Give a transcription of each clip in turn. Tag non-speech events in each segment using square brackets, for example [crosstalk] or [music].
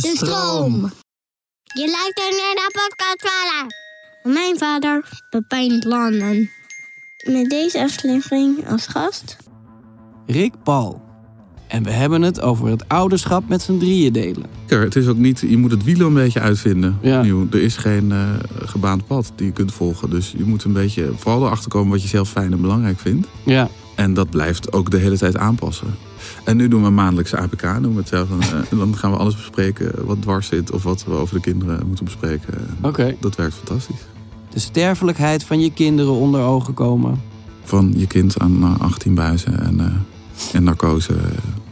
De stroom. Je luistert naar de podcast Wala. Mijn vader, Pepijn Landen. Met deze aflevering als gast... Rick Paul. En we hebben het over het ouderschap met z'n drieën delen. Ja, het is ook niet, je moet het wiel een beetje uitvinden. Ja. Opnieuw, Er is geen eh, gebaand pad die je kunt volgen. Dus je moet een beetje vooral erachter komen wat je zelf fijn en belangrijk vindt. Ja. En dat blijft ook de hele tijd aanpassen. En nu doen we een maandelijkse APK. Doen we het zelf, en, eh, en dan gaan we alles bespreken wat dwars zit of wat we over de kinderen moeten bespreken. Oké. Dat werkt fantastisch. De sterfelijkheid van je kinderen onder ogen komen. Van je kind aan eh, 18 buizen en, eh, en narcose.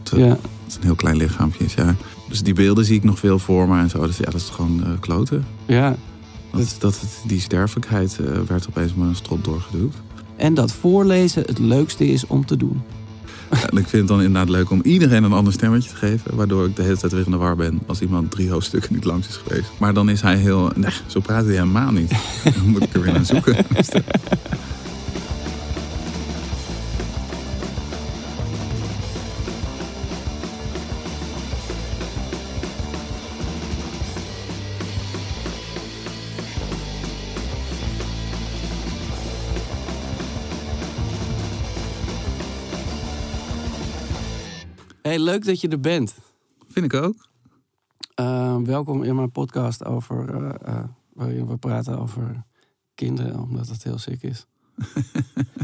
Het, eh, Ja. het is een heel klein lichaampje. is, Ja. Dus die beelden zie ik nog veel voor me en zo. Dus ja, dat is gewoon eh, kloten. Ja. Dat, dat het- die sterfelijkheid eh, werd opeens maar een strop doorgeduwd. En dat voorlezen het leukste is om te doen. En ik vind het dan inderdaad leuk om iedereen een ander stemmetje te geven. Waardoor ik de hele tijd weer in de war ben als iemand drie hoofdstukken niet langs is geweest. Maar dan is hij heel... Nee, zo praat hij helemaal niet. Dan moet ik er weer naar zoeken. hey, leuk dat je er bent. Vind ik ook. Eh, welkom in mijn podcast over, eh, eh, waarin we praten over kinderen, omdat dat heel sick [laughs] is.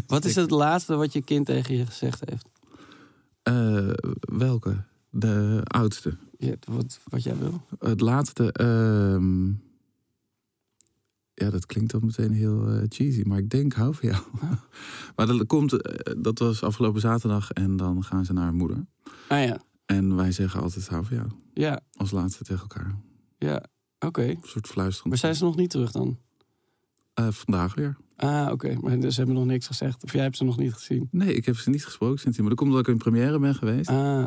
wat is het laatste wat je kind tegen je gezegd heeft? Eh, welke? De oudste. Je- wat, wat jij wil? Het laatste... ehm, Ja, dat klinkt dan meteen heel eh, cheesy, maar ik denk hou van jou. [laughs] maar dat komt, eh, dat was afgelopen zaterdag en dan gaan ze naar haar moeder. Ah ja, En wij zeggen altijd hou van jou. ja, Als laatste tegen elkaar. ja. Oké. Een soort fluisterend. Maar zijn ze nog niet terug dan? Eh, vandaag weer. Ah, oké. Maar ze hebben nog niks gezegd. Of jij hebt ze nog niet gezien. Nee, ik heb ze niet gesproken sindsdien. Maar dat komt omdat ik in première ben geweest. Ah,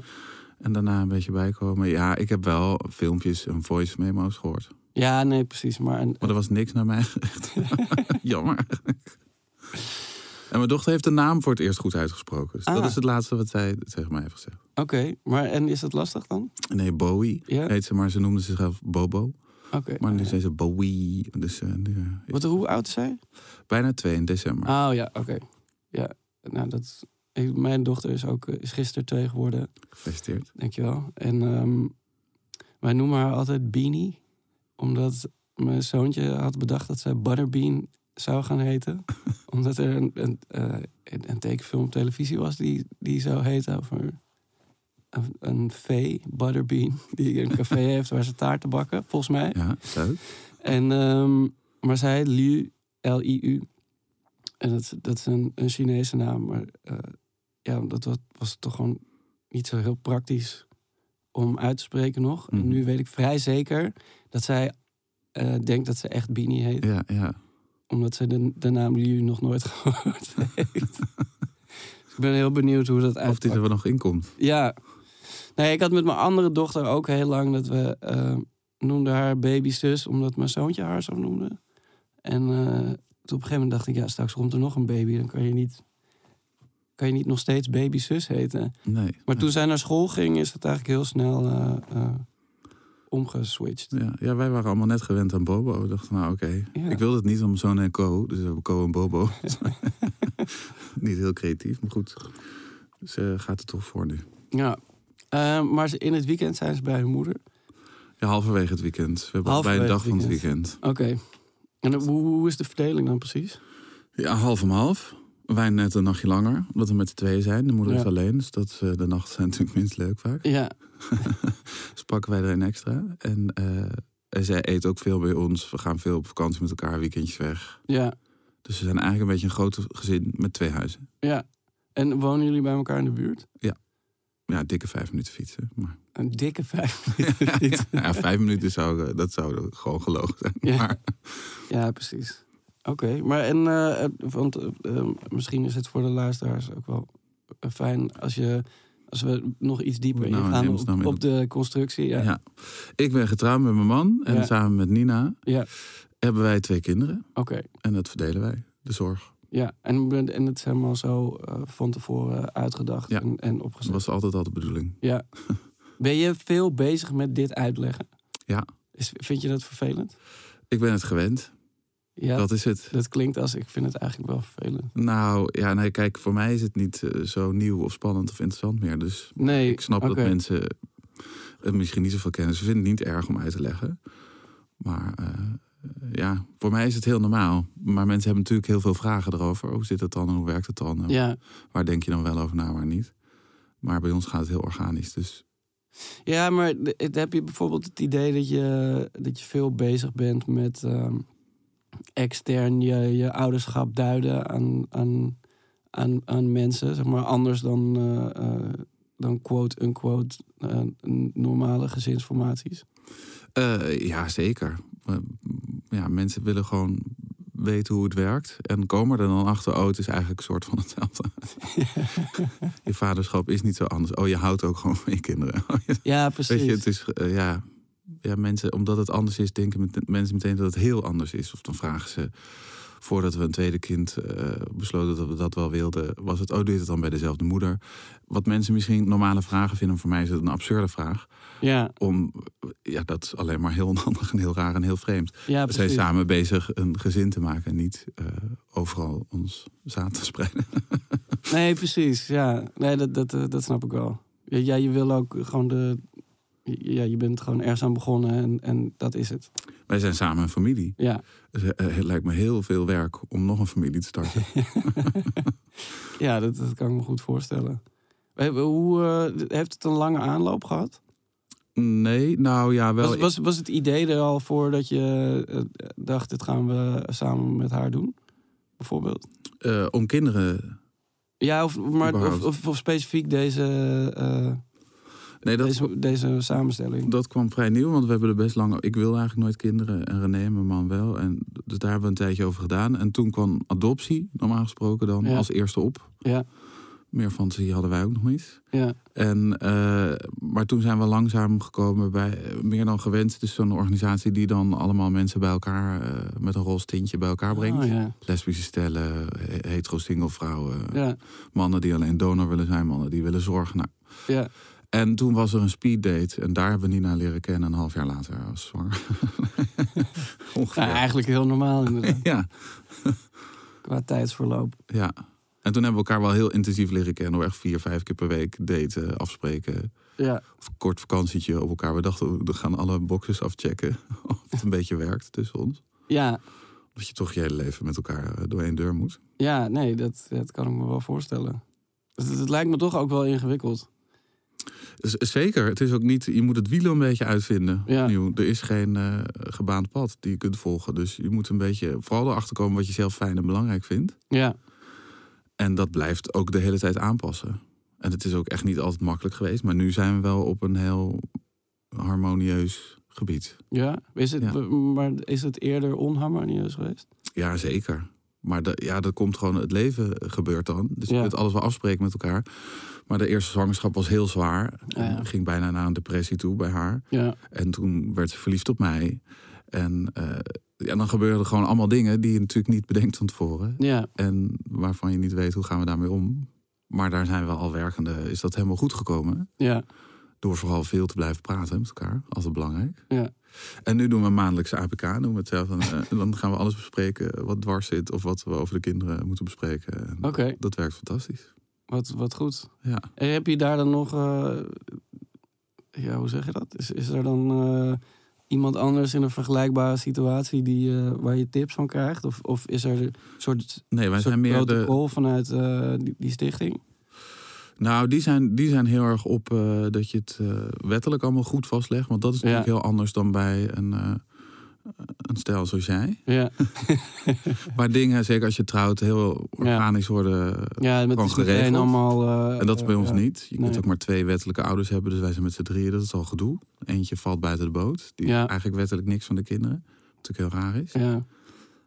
En daarna een beetje bijkomen. Ja, ik heb wel filmpjes en voice memo's gehoord. ja, nee, precies. Maar een- Maar er was niks naar mij [laughs] gericht. [laughs] Jammer [laughs] eigenlijk. En mijn dochter heeft de naam voor het eerst goed uitgesproken. Dus dat Ah. is het laatste wat zij tegen mij heeft gezegd. oké. Maar en is dat lastig dan? Nee, Bowie Ja. heet ze, maar ze noemde zichzelf Bobo. Oké. Maar nu zijn ze Bowie. Dus eh, nu, eh, Wat, hoe oud is zij? bijna twee in december. Oh ja, oké. Ja, nou dat. ik- mijn dochter is ook eh, is gisteren twee geworden, Gefeliciteerd. dankjewel. En ehm, wij noemen haar altijd Beanie, omdat mijn zoontje had bedacht dat zij Butterbean zou gaan heten. omdat er een, een, eh, een- een tekenfilm op televisie was die, die zou heten over een, een vee, Butterbean, die een café heeft waar ze taarten bakken, volgens mij. Ja, is dat het? En, ehm, maar zij heet Liu, L-I-U. En dat, dat is een, een Chinese naam. Maar eh, ja, dat was, was toch gewoon niet zo heel praktisch om uit te spreken nog. En Mhm. nu weet ik vrij zeker dat zij eh, denkt dat ze echt Bini heet. Ja, ja. Omdat ze de, de naam Liu nog nooit [laughs] gehoord heeft. [laughs] dus ik ben heel benieuwd hoe dat Of die uitpakt. er wel nog in komt. Ja. Nee, ik had met mijn andere dochter ook heel lang dat we eh, noemden haar babyzus, omdat mijn zoontje haar zo noemde. En eh, toen op een gegeven moment dacht ik, ja, straks komt er nog een baby, dan kan je niet, kan je niet nog steeds babyzus heten. Nee. Maar toen zij naar school ging, is dat eigenlijk heel snel eh, eh, omgeswitcht. Ja, ja, wij waren allemaal net gewend aan Bobo. We dachten, nou oké. Ja. Ik wilde het niet om zo'n en Co. Dus we hebben Co en Bobo. [laughs] niet heel creatief, maar goed. Ze gaat er toch voor nu. Ehm, Ja. Eh, maar ze- in het weekend zijn ze bij hun moeder. Ja, halverwege het weekend. We hebben bij Halverwege een dag het van het weekend. weekend. Oké. En hoe, hoe is de verdeling dan precies? Ja, half om half. Wij net een nachtje langer, omdat we met z'n tweeën zijn. De moeder Ja. is alleen, dus dat, eh, de nachten zijn natuurlijk minst leuk vaak. Ja. Dus pakken wij er een extra. En, eh, en zij eet ook veel bij ons. We gaan veel op vakantie met elkaar, weekendjes weg. Ja. Dus we zijn eigenlijk een beetje een groot gezin met twee huizen. Ja. En wonen jullie bij elkaar in de buurt? Ja, dikke vijf minuten fietsen. Maar... Een dikke [laughs] vijf minuten fiets. ja, vijf minuten zou, eh, dat zou gewoon gelogen zijn. Ja. Maar Ja, precies. Oké, maar en, eh, eh, want eh, eh, misschien is het voor de luisteraars ook wel eh, fijn als je, als we nog iets dieper Nou, in ingaan hemelsnaam op, in op de constructie. Ja, Ja. Ik ben getrouwd met mijn man en Ja. samen met Nina Ja. hebben wij twee kinderen oké. en dat verdelen wij, de zorg. Ja, en, en het is helemaal zo eh, van tevoren uitgedacht Ja. en, en Dat opgezet. was altijd al de bedoeling. [laughs] Ja. Ben je veel bezig met dit uitleggen? Ja. Is, vind je dat vervelend? Ik ben het gewend, Ja, dat... dat is het. klinkt als ik vind het eigenlijk wel vervelend. Nou ja, nee, kijk, voor mij is het niet eh, zo nieuw of spannend of interessant meer. Dus Nee, ik snap oké. dat mensen het misschien niet zoveel kennen. Ze vinden het niet erg om uit te leggen. Maar eh, ja, voor mij is het heel normaal. Maar mensen hebben natuurlijk heel veel vragen erover. Hoe zit dat dan en hoe werkt het dan? En Ja. Waar denk je dan wel over na, waar niet? Maar bij ons gaat het heel organisch, dus Ja, maar d- d- heb je bijvoorbeeld het idee dat je, dat je veel bezig bent met ehm, extern je, je ouderschap duiden aan, aan, aan, aan mensen, zeg maar anders dan, eh, eh, dan quote-unquote eh, n- normale gezinsformaties? Eh, ja, zeker. Eh, Ja, mensen willen gewoon weten hoe het werkt. En komen er dan achter, oh, het is eigenlijk een soort van hetzelfde. [laughs] je vaderschap is niet zo anders. Oh, je houdt ook gewoon van je kinderen. Oh, je- Ja, precies. Weet je, het is, eh, ja, ja, mensen, omdat het anders is, denken met, mensen meteen dat het heel anders is. Of dan vragen ze, voordat we een tweede kind eh, besloten dat we dat wel wilden, was het, oh, doe je het dan bij dezelfde moeder? Wat mensen misschien normale vragen vinden, voor mij is het een absurde vraag Ja, om, eh, ja, dat is alleen maar heel onhandig en heel raar en heel vreemd. ja, We zijn precies. samen bezig een gezin te maken en niet eh, overal ons zaad te spreiden. [laughs] Nee, precies. Ja, nee, dat, dat, eh, dat snap ik wel. Ja, Ja, je wil ook gewoon de. Ja, je bent gewoon ergens aan begonnen en, en dat is het. Wij zijn samen een familie. Ja. Dus, eh, het lijkt me heel veel werk om nog een familie te [laughs] starten. Ja, dat, dat kan ik me goed voorstellen. We hebben- Hoe, eh, heeft het een lange aanloop gehad? Nee, nou ja, wel. Was, was, was het idee er al voor dat je eh, dacht, dit gaan we samen met haar doen? Bijvoorbeeld. eh, om kinderen. Ja, of, maar, of, Überhaupt. of, of specifiek deze, eh, Nee, dat, deze, deze samenstelling. dat kwam vrij nieuw, want we hebben er best lang. Ik wilde eigenlijk nooit kinderen en René, mijn man, wel. En dus daar hebben we een tijdje over gedaan. En toen kwam adoptie, normaal gesproken, dan Ja. als eerste op. Ja. Meer fantasie hadden wij ook nog niet. Ja, En, eh, maar toen zijn we langzaam gekomen bij eh, meer dan gewenst. Dus zo'n organisatie die dan allemaal mensen bij elkaar eh, met een roze tintje bij elkaar brengt. Oh, ja. Lesbische stellen, he- hetero singlevrouwen, Ja, mannen die alleen donor willen zijn, mannen die willen zorgen. Nou. ja. En toen was er een speeddate en daar hebben we Nina leren kennen. Een half jaar later was ze zwanger. [laughs] Ongeveer. Nou, eigenlijk heel normaal [laughs] inderdaad, ja, qua tijdsverloop. ja. En toen hebben we elkaar wel heel intensief leren kennen. Hoor. Echt vier, vijf keer per week daten, afspreken. Ja, of een kort vakantietje op elkaar. We dachten, we gaan alle boxes afchecken [laughs] of het een beetje werkt tussen ons. ja, Dat je toch je hele leven met elkaar eh, door één deur moet. ja nee, dat, dat kan ik me wel voorstellen. Het, het lijkt me toch ook wel ingewikkeld. Z- Dus, eh, zeker, het is ook niet, je moet het wielen een beetje uitvinden. Ja. Opnieuw, er is geen eh, gebaand pad die je kunt volgen. Dus je moet een beetje vooral erachter komen wat je zelf fijn en belangrijk vindt. Ja, En dat blijft ook de hele tijd aanpassen. En het is ook echt niet altijd makkelijk geweest. Maar nu zijn we wel op een heel harmonieus gebied. Ja, is het, Ja. w- maar is het eerder onharmonieus geweest? Ja, zeker. Maar dat, ja, dat komt gewoon, het leven gebeurt dan. Dus je Ja. kunt alles wel afspreken met elkaar. Maar de eerste zwangerschap was heel zwaar. Ja. En ging bijna naar een depressie toe bij haar. Ja, En toen werd ze verliefd op mij. En eh, ja, dan gebeuren er gewoon allemaal dingen die je natuurlijk niet bedenkt van tevoren. ja, En waarvan je niet weet hoe gaan we daarmee om. Maar daar zijn we al werkende. Is dat helemaal goed gekomen? ja, Door vooral veel te blijven praten met elkaar. Altijd belangrijk. Ja. En nu doen we een maandelijkse APK. Doen we het zelf. Dan, eh, dan gaan we alles bespreken wat dwars zit. Of wat we over de kinderen moeten bespreken. En oké. Dat werkt fantastisch. Wat, wat goed. Ja. En heb je daar dan nog eh, ja, hoe zeg je dat? Is, is er dan eh, iemand anders in een vergelijkbare situatie die, eh, waar je tips van krijgt? Of, of is er een soort, Nee, wij soort zijn meer de, protocol vanuit eh, die, die stichting? Nou, die zijn, die zijn heel erg op eh, dat je het eh, wettelijk allemaal goed vastlegt. Want dat is Ja. natuurlijk heel anders dan bij een, eh, een stijl zoals jij. Ja, Waar dingen, zeker als je trouwt, heel organisch worden. ja met Gewoon iedereen geregeld. allemaal... eh, En dat is bij eh, ons ja. niet. Je kunt Nee. ook maar twee wettelijke ouders hebben. Dus wij zijn met z'n drieën. Dat is al gedoe. Eentje valt buiten de boot. Die Ja. heeft eigenlijk wettelijk niks van de kinderen. Wat natuurlijk heel raar is. Ja,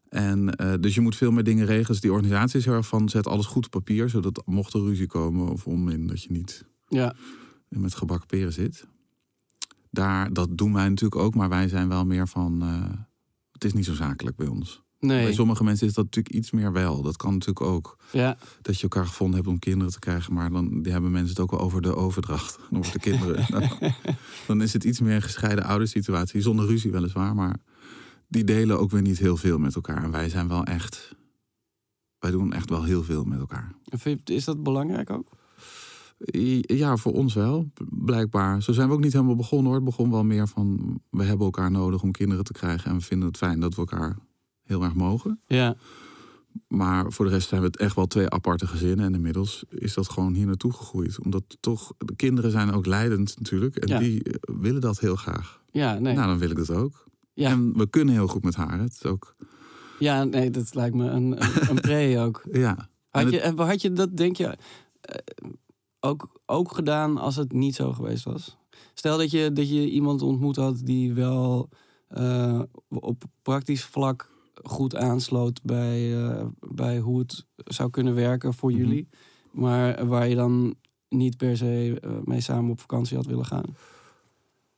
En, eh, dus je moet veel meer dingen regelen. Dus die organisatie is heel erg van zet alles goed op papier. Zodat mocht er ruzie komen of onmin dat je niet ja, en met gebakken peren zit. Daar, dat doen wij natuurlijk ook, maar wij zijn wel meer van. eh, het is niet zo zakelijk bij ons. nee. Bij sommige mensen is dat natuurlijk iets meer wel. Dat kan natuurlijk ook. Ja, Dat je elkaar gevonden hebt om kinderen te krijgen, maar dan die hebben mensen het ook wel over de overdracht. Dan wordt de kinderen. dan, dan is het iets meer een gescheiden oudersituatie. Zonder ruzie weliswaar, maar die delen ook weer niet heel veel met elkaar. En wij zijn wel echt. Wij doen echt wel heel veel met elkaar. Vind je- is dat belangrijk ook? Ja, voor ons wel, b- blijkbaar. Zo zijn we ook niet helemaal begonnen hoor. Het begon wel meer van, we hebben elkaar nodig om kinderen te krijgen. En we vinden het fijn dat we elkaar heel erg mogen. Ja, Maar voor de rest zijn we het echt wel twee aparte gezinnen. En inmiddels is dat gewoon hier naartoe gegroeid. Omdat toch, de kinderen zijn ook leidend natuurlijk. En Ja. die eh, willen dat heel graag. ja nee. Nou, dan wil ik dat ook. Ja. En we kunnen heel goed met haar. Het is ook, Ja, nee, dat lijkt me een, een, een pre ook. ja. En Had het- je, eh, had je dat, denk je, eh, ook, ook gedaan als het niet zo geweest was? Stel dat je, dat je iemand ontmoet had die wel eh, op praktisch vlak goed aansloot bij, eh, bij hoe het zou kunnen werken voor Mhm. jullie. Maar waar je dan niet per se eh, mee samen op vakantie had willen gaan.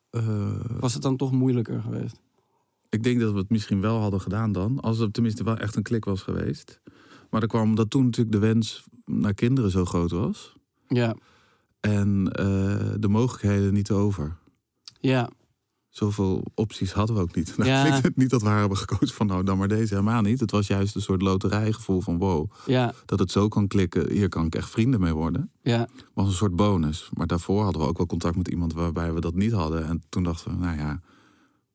eh, Was het dan toch moeilijker geweest? Ik denk dat we het misschien wel hadden gedaan dan. Als het tenminste wel echt een klik was geweest. Maar er kwam omdat toen natuurlijk de wens naar kinderen zo groot was. Ja, En eh, de mogelijkheden niet over. ja, Zoveel opties hadden we ook niet. [laughs] Nou, Ja. klinkt het niet dat we haar hebben gekozen van nou dan maar deze helemaal niet. Het was juist een soort loterijgevoel van wow. ja, Dat het zo kan klikken, hier kan ik echt vrienden mee worden. ja, Was een soort bonus. Maar daarvoor hadden we ook wel contact met iemand waarbij we dat niet hadden. En toen dachten we nou ja,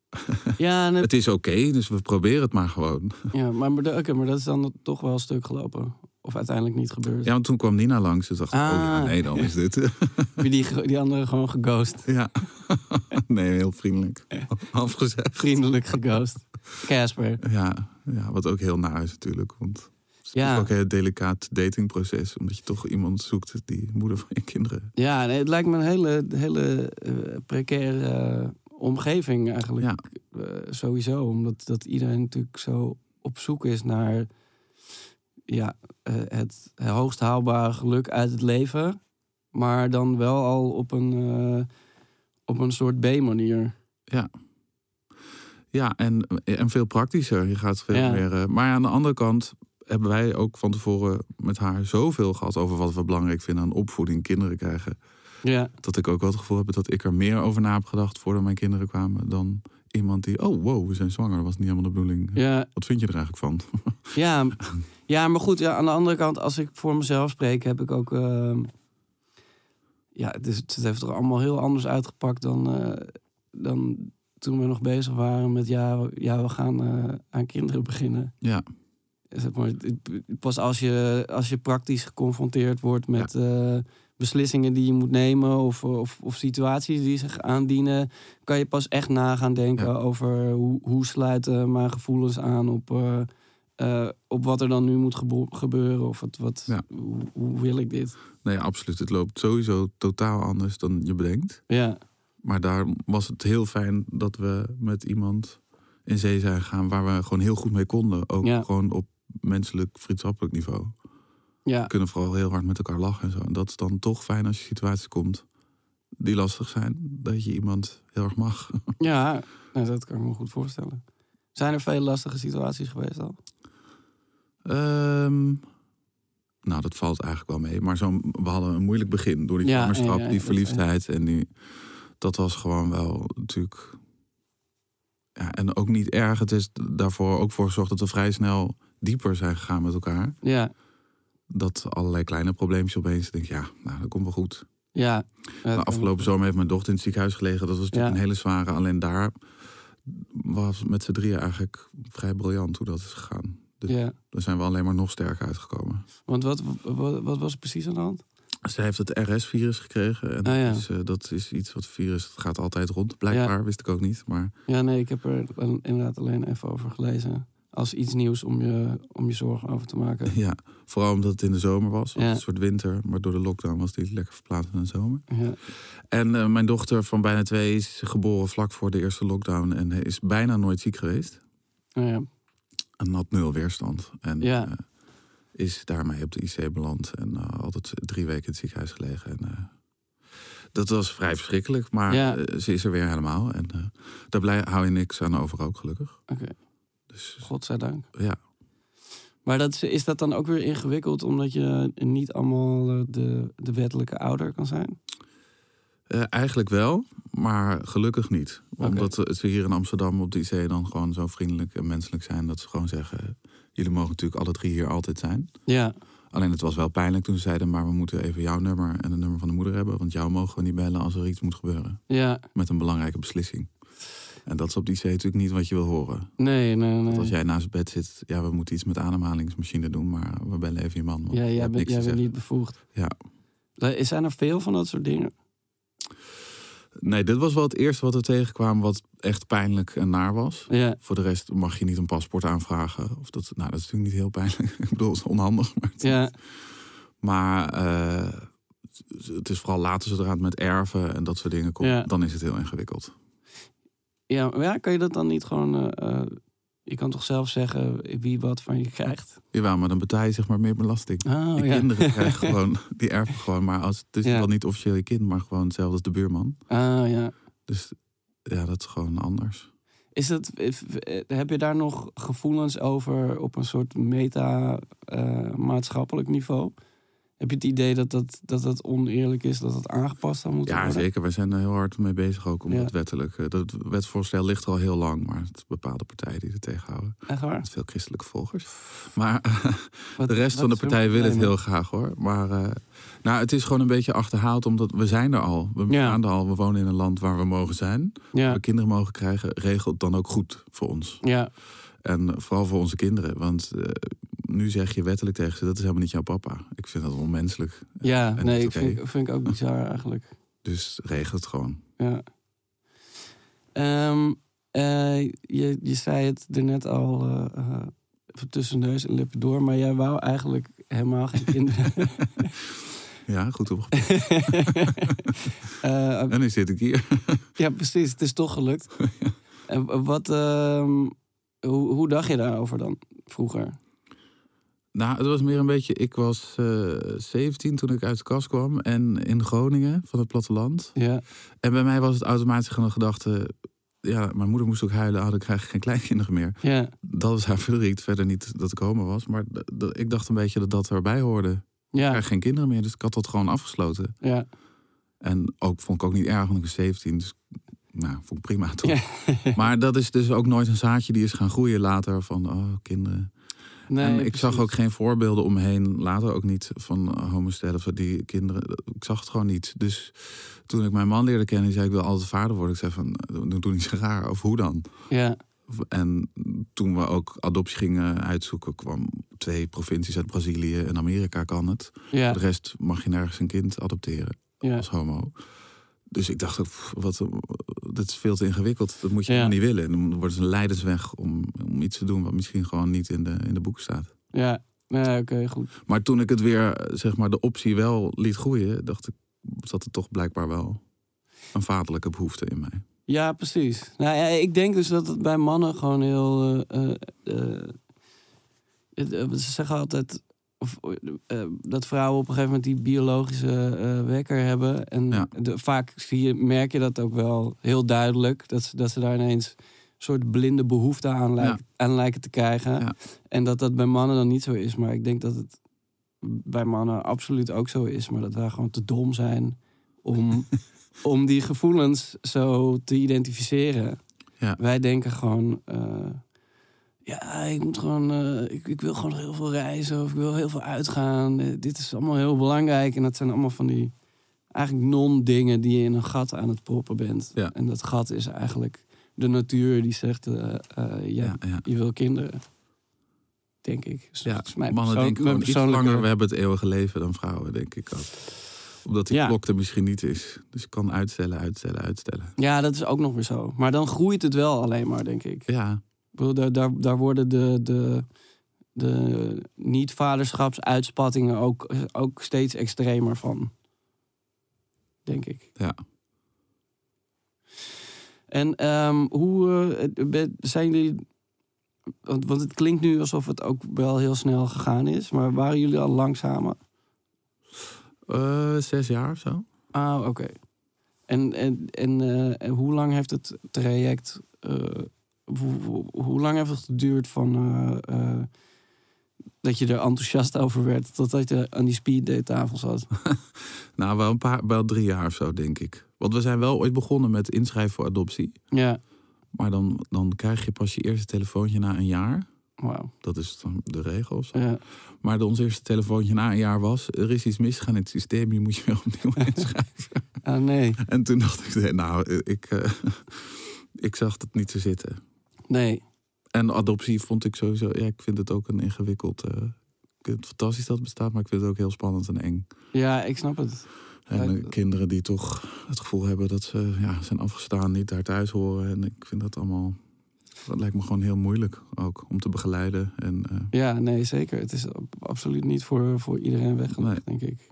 Eh. ja. nee, het is oké. dus we proberen het maar gewoon. Ja, maar, maar, de- oké, maar dat is dan toch wel stuk gelopen. Of uiteindelijk niet gebeurd. Ja, want toen kwam Nina langs. Dus dacht ik, oh ja, Ah. nee, dan is dit. [laughs] Heb je Die, ge- die andere gewoon geghost. ja. [laughs] nee, heel [laughs] vriendelijk. Afgezegd. Vriendelijk geghost. Casper. Ja, ja, wat ook heel naar is natuurlijk. Want het is Ja. natuurlijk ook een heel delicaat datingproces. Omdat je toch iemand zoekt die moeder van je kinderen. Ja, nee, het lijkt me een hele, hele eh, precaire eh, omgeving eigenlijk. Ja. Eh, sowieso, omdat dat iedereen natuurlijk zo op zoek is naar ja, eh, het hoogst haalbare geluk uit het leven. Maar dan wel al op een, eh, op een soort B-manier. Ja, en, en veel praktischer. Je gaat veel Ja. meer. eh, maar aan de andere kant hebben wij ook van tevoren met haar zoveel gehad over wat we belangrijk vinden aan opvoeding, kinderen krijgen. Ja, dat ik ook wel het gevoel heb dat ik er meer over na heb gedacht voordat mijn kinderen kwamen dan iemand die, oh wow, we zijn zwanger, dat was niet helemaal de bedoeling. ja Wat vind je er eigenlijk van? [laughs] Ja, m- ja maar goed, ja, aan de andere kant, als ik voor mezelf spreek, heb ik ook. ehm, ja, het, is, het heeft er allemaal heel anders uitgepakt dan, eh, dan toen we nog bezig waren met. Ja, we- ja we gaan eh, aan kinderen beginnen. Ja. Zeg maar, het- het- pas als je, als je praktisch geconfronteerd wordt met. eh, beslissingen die je moet nemen of, of, of situaties die zich aandienen, kan je pas echt na gaan denken Ja. over hoe, hoe sluiten mijn gevoelens aan op, eh, eh, op wat er dan nu moet gebo- gebeuren. Of wat, wat, Ja. hoe, hoe wil ik dit? Nee, absoluut. Het loopt sowieso totaal anders dan je bedenkt. Ja, Maar daar was het heel fijn dat we met iemand in zee zijn gegaan waar we gewoon heel goed mee konden. Ook Ja. gewoon op menselijk, vriendschappelijk niveau. ja, We kunnen vooral heel hard met elkaar lachen en zo. En dat is dan toch fijn als je situaties komt die lastig zijn, dat je iemand heel erg mag. ja nou, dat kan ik me goed voorstellen. Zijn er veel lastige situaties geweest al? Ehm, nou, dat valt eigenlijk wel mee. Maar zo, we hadden een moeilijk begin door die Ja, kamerschap, ja, ja, die dat- verliefdheid. En die, dat was gewoon wel natuurlijk... Ja, en ook niet erg. Het is daarvoor ook voor gezorgd dat we vrij snel dieper zijn gegaan met elkaar. Ja, Dat allerlei kleine probleempjes opeens denk ik, ja, nou, dat komt wel goed. Ja. eh, Maar afgelopen zomer heeft mijn dochter in het ziekenhuis gelegen. Dat was natuurlijk Ja. een hele zware. Alleen daar was met z'n drieën eigenlijk vrij briljant hoe dat is gegaan. Ja, Daar zijn we alleen maar nog sterker uitgekomen. want wat, wat, wat was er precies aan de hand? Zij heeft het RS-virus gekregen. En Ah, ja. dat, is, eh, dat is iets wat virus, dat gaat altijd rond. Blijkbaar, wist ik ook niet. [laughs] Maar Ja, nee, ik heb er wel inderdaad alleen even over gelezen. Als iets nieuws om je, om je zorgen over te maken. ja, vooral omdat het in de zomer was. Het was Ja. Een soort winter. Maar door de lockdown was die lekker verplaatst naar de zomer. Ja, En eh, mijn dochter van bijna twee is geboren vlak voor de eerste lockdown. En is bijna nooit ziek geweest. nou ja. En had nul weerstand. En Ja. eh, is daarmee op de IC beland. En eh, altijd drie weken in het ziekenhuis gelegen. En, eh, dat was vrij verschrikkelijk. Maar Ja. eh, ze is er weer helemaal. En eh, daar blij, hou je niks aan over ook, gelukkig. oké. Dus Godzijdank. ja. Maar dat, is- is dat dan ook weer ingewikkeld omdat je niet allemaal eh, de, de wettelijke ouder kan zijn? Eh, eigenlijk wel, maar gelukkig niet. Oké. Omdat ze hier in Amsterdam op de IC dan gewoon zo vriendelijk en menselijk zijn dat ze gewoon zeggen: Jullie mogen natuurlijk alle drie hier altijd zijn. Ja, Alleen het was wel pijnlijk toen ze zeiden: Maar we moeten even jouw nummer en het nummer van de moeder hebben. Want jou mogen we niet bellen als er iets moet gebeuren. ja. Met een belangrijke beslissing. En dat is op de IC natuurlijk niet wat je wil horen. Nee, nee, nee. Want als jij naast het bed zit, ja, we moeten iets met ademhalingsmachine doen, maar we bellen even je man. want ja, je jij hebt bent, niks jij bent te zeggen. niet bevoegd. Ja. Le- Zijn er veel van dat soort dingen? Nee, dit was wel het eerste wat er tegenkwam, wat echt pijnlijk en naar was. Ja, Voor de rest mag je niet een paspoort aanvragen. Of dat, nou, dat is natuurlijk niet heel pijnlijk. [laughs] Ik bedoel, het is onhandig. Maar, het- ja, maar eh, het- het is vooral later zodra het met erven en dat soort dingen komt. Ja. Dan is het heel ingewikkeld. ja. Maar ja, kan je dat dan niet gewoon... eh, eh, je kan toch zelf zeggen wie wat van je krijgt? Jawel, maar dan betaal je zeg maar meer belasting. Oh, je [laughs] kinderen krijgen gewoon, die erven gewoon. Maar als, het is Ja. wel niet officieel je kind, maar gewoon hetzelfde als de buurman. Ah, ja. Dus ja, dat is gewoon anders. Is dat, eh, heb je daar nog gevoelens over op een soort meta-maatschappelijk niveau? Heb je het idee dat dat, dat dat oneerlijk is, dat dat aangepast zou moeten Ja, worden? zeker. Wij zijn er heel hard mee bezig ook om Ja. dat wettelijk... eh, Dat wetsvoorstel ligt er al heel lang, maar het is bepaalde partijen die het tegenhouden. Echt waar? Met veel christelijke volgers. Maar Wat- De rest wat van de is hun partij wil het probleem? heel graag hoor. Maar eh, nou, het is gewoon een beetje achterhaald, omdat we zijn er al. We Ja. gaan er al. We wonen in een land waar we mogen zijn. Waar Ja, we kinderen mogen krijgen. Regelt dan ook goed voor ons. ja, En vooral voor onze kinderen. Want eh, nu zeg je wettelijk tegen ze, dat is helemaal niet jouw papa. Ik vind dat onmenselijk. ja. en nee, niet ik oké. vind, vind ik ook bizar eigenlijk. Dus regel het gewoon. Ja. Ehm, eh, je, je zei het er net al eh, eh, even tussen neus en lippen door, maar jij wou eigenlijk helemaal [laughs] geen kinderen. [laughs] Ja, goed opgepakt. Eh, En [laughs] nu zit ik hier. ja, precies. Het is toch [laughs] gelukt. En wat, ehm, hoe, hoe dacht je daarover dan vroeger? Nou, het was meer een beetje. Ik was eh 17 toen ik uit de kast kwam. En in Groningen, van het platteland. Ja, En bij mij was het automatisch gewoon een gedachte. Ja, mijn moeder moest ook huilen. Oh, dan krijg ik geen [laughs] kleinkinderen meer. ja, Dat was haar verdriet. Verder niet dat ik homo was. Maar d- d- ik dacht een beetje dat dat erbij hoorde. Ik ja, krijg geen kinderen meer. Dus ik had dat gewoon afgesloten. ja. En ook vond ik ook niet erg, want ik was 17. Dus nou, vond ik prima toch. Ja. Maar dat is dus ook nooit een zaadje die is gaan groeien later. Van, oh, kinderen Nee, en ik precies. zag ook geen voorbeelden omheen, later ook niet van eh, homostellen of die kinderen. Ik zag het gewoon niet. Dus toen ik mijn man leerde kennen, die zei ik wil altijd vader worden. Ik zei van, eh, doe, doe niet zo raar, of hoe dan? Ja, En toen we ook adoptie gingen uitzoeken, kwam twee provincies uit Brazilië en Amerika kan het. ja, De rest mag je nergens een kind adopteren ja. als homo. Dus ik dacht, pff, wat, eh, dat is veel te ingewikkeld. Dat moet je Ja. helemaal niet willen. En dan wordt het een leidersweg om, om iets te doen wat misschien gewoon niet in de, in de boeken staat. ja. Nee, oké, goed. Maar toen ik het weer, eh, zeg maar, de optie wel liet groeien, dacht ik, zat er toch blijkbaar wel een vaderlijke behoefte in mij. Ja, precies. Nou ja, ik denk dus dat het bij mannen gewoon heel. eh, eh, eh, het, eh, ze zeggen altijd. Of, eh, eh, dat vrouwen op een gegeven moment die biologische eh, wekker hebben. En Ja. de- vaak zie je, merk je dat ook wel heel duidelijk. Dat ze, dat ze daar ineens een soort blinde behoefte aan, lijk- aan lijken te krijgen. Ja. En dat dat bij mannen dan niet zo is. Maar ik denk dat het bij mannen absoluut ook zo is. Maar dat wij gewoon te dom zijn [laughs] om, om die gevoelens zo te identificeren. Ja. Wij denken gewoon... eh, ja, ik moet gewoon. eh, ik, ik wil gewoon heel veel reizen of ik wil heel veel uitgaan. Eh, dit is allemaal heel belangrijk. En dat zijn allemaal van die eigenlijk non-dingen die je in een gat aan het proppen bent. Ja. En dat gat is eigenlijk de natuur die zegt, eh, eh, ja, Ja, ja. je wil kinderen. Denk ik. Is- Ja, is mijn mannen persoon- denken mijn gewoon iets persoonlijke- langer. We hebben het eeuwige leven dan vrouwen, denk ik ook. Omdat die Ja. klok er misschien niet is. Dus je kan uitstellen, uitstellen, uitstellen. Ja, dat is ook nog weer zo. Maar dan groeit het wel alleen maar, denk ik. Ja, Ik bedoel, daar, daar, daar worden de, de, de niet-vaderschapsuitspattingen ook, ook steeds extremer van. Denk ik. Ja. En ehm, hoe eh, het- ben- zijn jullie. Want, want het klinkt nu alsof het ook wel heel snel gegaan is, maar waren jullie al langzamer? Eh, zes jaar of zo. Ah, oké. En, en, en, eh, en hoe lang heeft het traject. eh, hoe, hoe- hoe lang heeft het geduurd van. eh, eh, dat je er enthousiast over werd, totdat je aan die speeddate tafel zat? Nou, wel, een paar, wel drie jaar of zo, denk ik. Want we zijn wel ooit begonnen met inschrijven voor adoptie. ja, Maar dan, dan krijg je pas je eerste telefoontje na een jaar. wauw. Dat is dan de regel of zo. Ja. Maar de- ons eerste telefoontje na een jaar was... er is iets misgegaan in het systeem, je moet je weer opnieuw [laughs] inschrijven. Ah, nee. en toen dacht ik, nee, nou, ik, eh, [laughs] ik zag dat niet zo zitten. Nee. En adoptie vond ik sowieso... Ja, ik vind het ook een ingewikkeld... eh, ik vind het fantastisch dat het bestaat, maar ik vind het ook heel spannend en eng. Ja, ik snap het. Ja, En eh, ik- kinderen die toch het gevoel hebben dat ze ja, zijn afgestaan, niet daar thuis horen. En ik vind dat allemaal... Dat lijkt me gewoon heel moeilijk ook, om te begeleiden. En, eh, Ja, nee, zeker. Het is ab- absoluut niet voor, voor iedereen weggelegd, denk ik.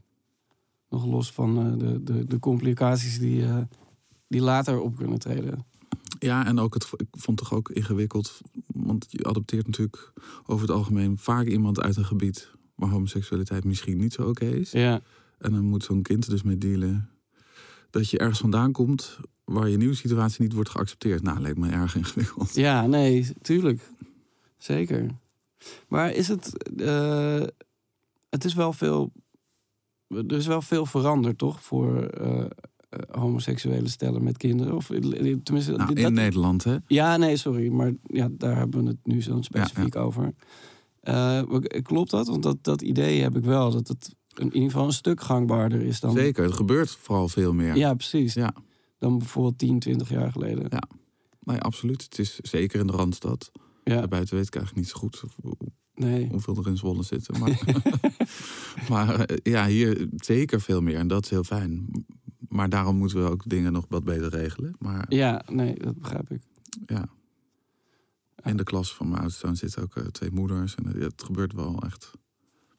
Nog los van eh, de, de, de complicaties die, eh, die later op kunnen treden. Ja, en ook het, ik vond het toch ook ingewikkeld. Want je adopteert natuurlijk over het algemeen vaak iemand uit een gebied waar homoseksualiteit misschien niet zo oké is. Ja, En dan moet zo'n kind er dus mee dealen. Dat je ergens vandaan komt waar je nieuwe situatie niet wordt geaccepteerd. Nou, lijkt me erg ingewikkeld. ja nee, tuurlijk. Zeker. Maar is het. eh, het is wel veel. Er is wel veel veranderd, toch? Voor eh, eh, homoseksuele stellen met kinderen. Of eh, tenminste. Nou, dit- in dat- Nederland, hè? Ja, nee, sorry. Maar ja, daar hebben we het nu zo specifiek over. Eh, maar k- klopt dat? Want dat, dat idee heb ik wel. Dat het in ieder geval een stuk gangbaarder is dan... Zeker, het gebeurt vooral veel meer. Ja, precies. Ja. Dan bijvoorbeeld 10, 20 jaar geleden. Ja. Nee, absoluut. Het is zeker in de Randstad. Ja, Daarbuiten weet ik eigenlijk niet zo goed hoe- nee. hoeveel er in Zwolle [laughs] zitten. Maar, maar eh, ja, hier zeker veel meer. En dat is heel fijn. Maar daarom moeten we ook dingen nog wat beter regelen. Maar Ja, nee, dat begrijp ik. ja. In de klas van mijn oudste zoon zitten ook eh, twee moeders. En eh, het gebeurt wel echt.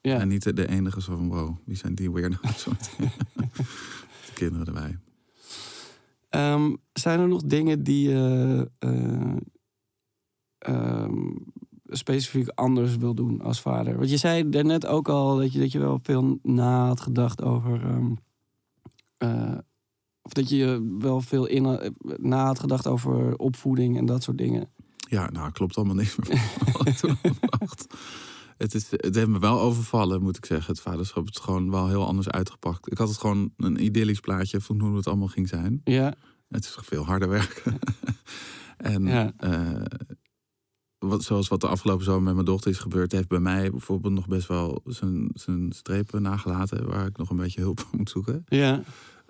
Ja, En niet de- de enige zo van, wow, wie zijn die [laughs] weirdo's? De kinderen erbij. Ehm, zijn er nog dingen die je eh, ehm, specifiek anders wil doen als vader? Want je zei daarnet ook al dat je, dat je wel veel na had gedacht over. ehm, eh, of dat je wel veel in, eh, na had gedacht over opvoeding en dat soort dingen. Ja, nou, klopt allemaal [laughs] niks meer. van wat ik toen dacht. Het, is, het heeft me wel overvallen, moet ik zeggen. Het vaderschap het is gewoon wel heel anders uitgepakt. Ik had het gewoon een idyllisch plaatje van hoe het allemaal ging zijn. Ja, Het is veel harder werken. [laughs] en Ja. eh, wat, zoals wat de afgelopen zomer met mijn dochter is gebeurd, heeft bij mij bijvoorbeeld nog best wel zijn, zijn strepen nagelaten waar ik nog een beetje hulp voor moet zoeken. ja.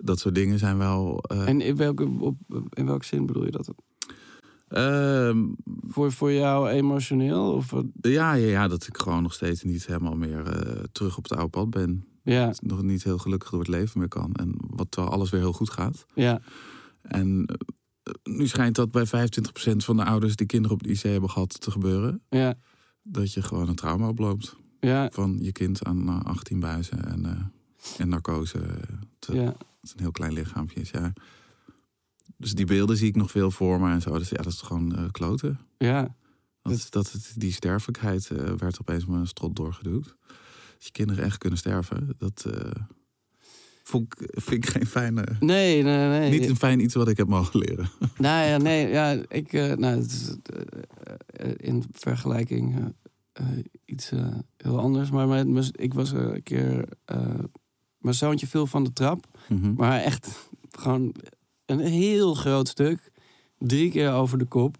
Dat soort dingen zijn wel. eh, En in welke, op- in welke zin bedoel je dat? ehm, Voor, voor jou emotioneel? Of, wat? ja, ja, ja, dat ik gewoon nog steeds niet helemaal meer eh, terug op het oude pad ben. ja, Nog niet heel gelukkig door het leven meer kan. En wat terwijl alles weer heel goed gaat. ja, En eh, nu schijnt dat bij 25% van de ouders die kinderen op het IC hebben gehad te gebeuren. ja, dat je gewoon een trauma oploopt ja, van je kind aan eh, 18 buizen en, eh, en narcose. Te, ja. Het is een heel klein lichaampje is, ja. Dus die beelden zie ik nog veel voor me en zo. Dus ja, dat is gewoon eh, kloten. ja. Dat, is- dat, het- die sterfelijkheid eh, werd opeens mijn strot doorgeduwd. Dat je kinderen echt kunnen sterven, dat eh, vond ik, vind ik geen fijne... Nee, nee, nee. Niet een fijn iets wat ik heb mogen [laughs] leren. Nou ja, nee, ja, ik, eh, nou, het is, eh, eh, in vergelijking eh, eh, iets eh, heel anders. Maar mijn- mijn- ik was eh, een keer, eh, mijn zoontje viel van de trap, Mhm. maar echt gewoon een heel groot stuk, drie keer over de kop.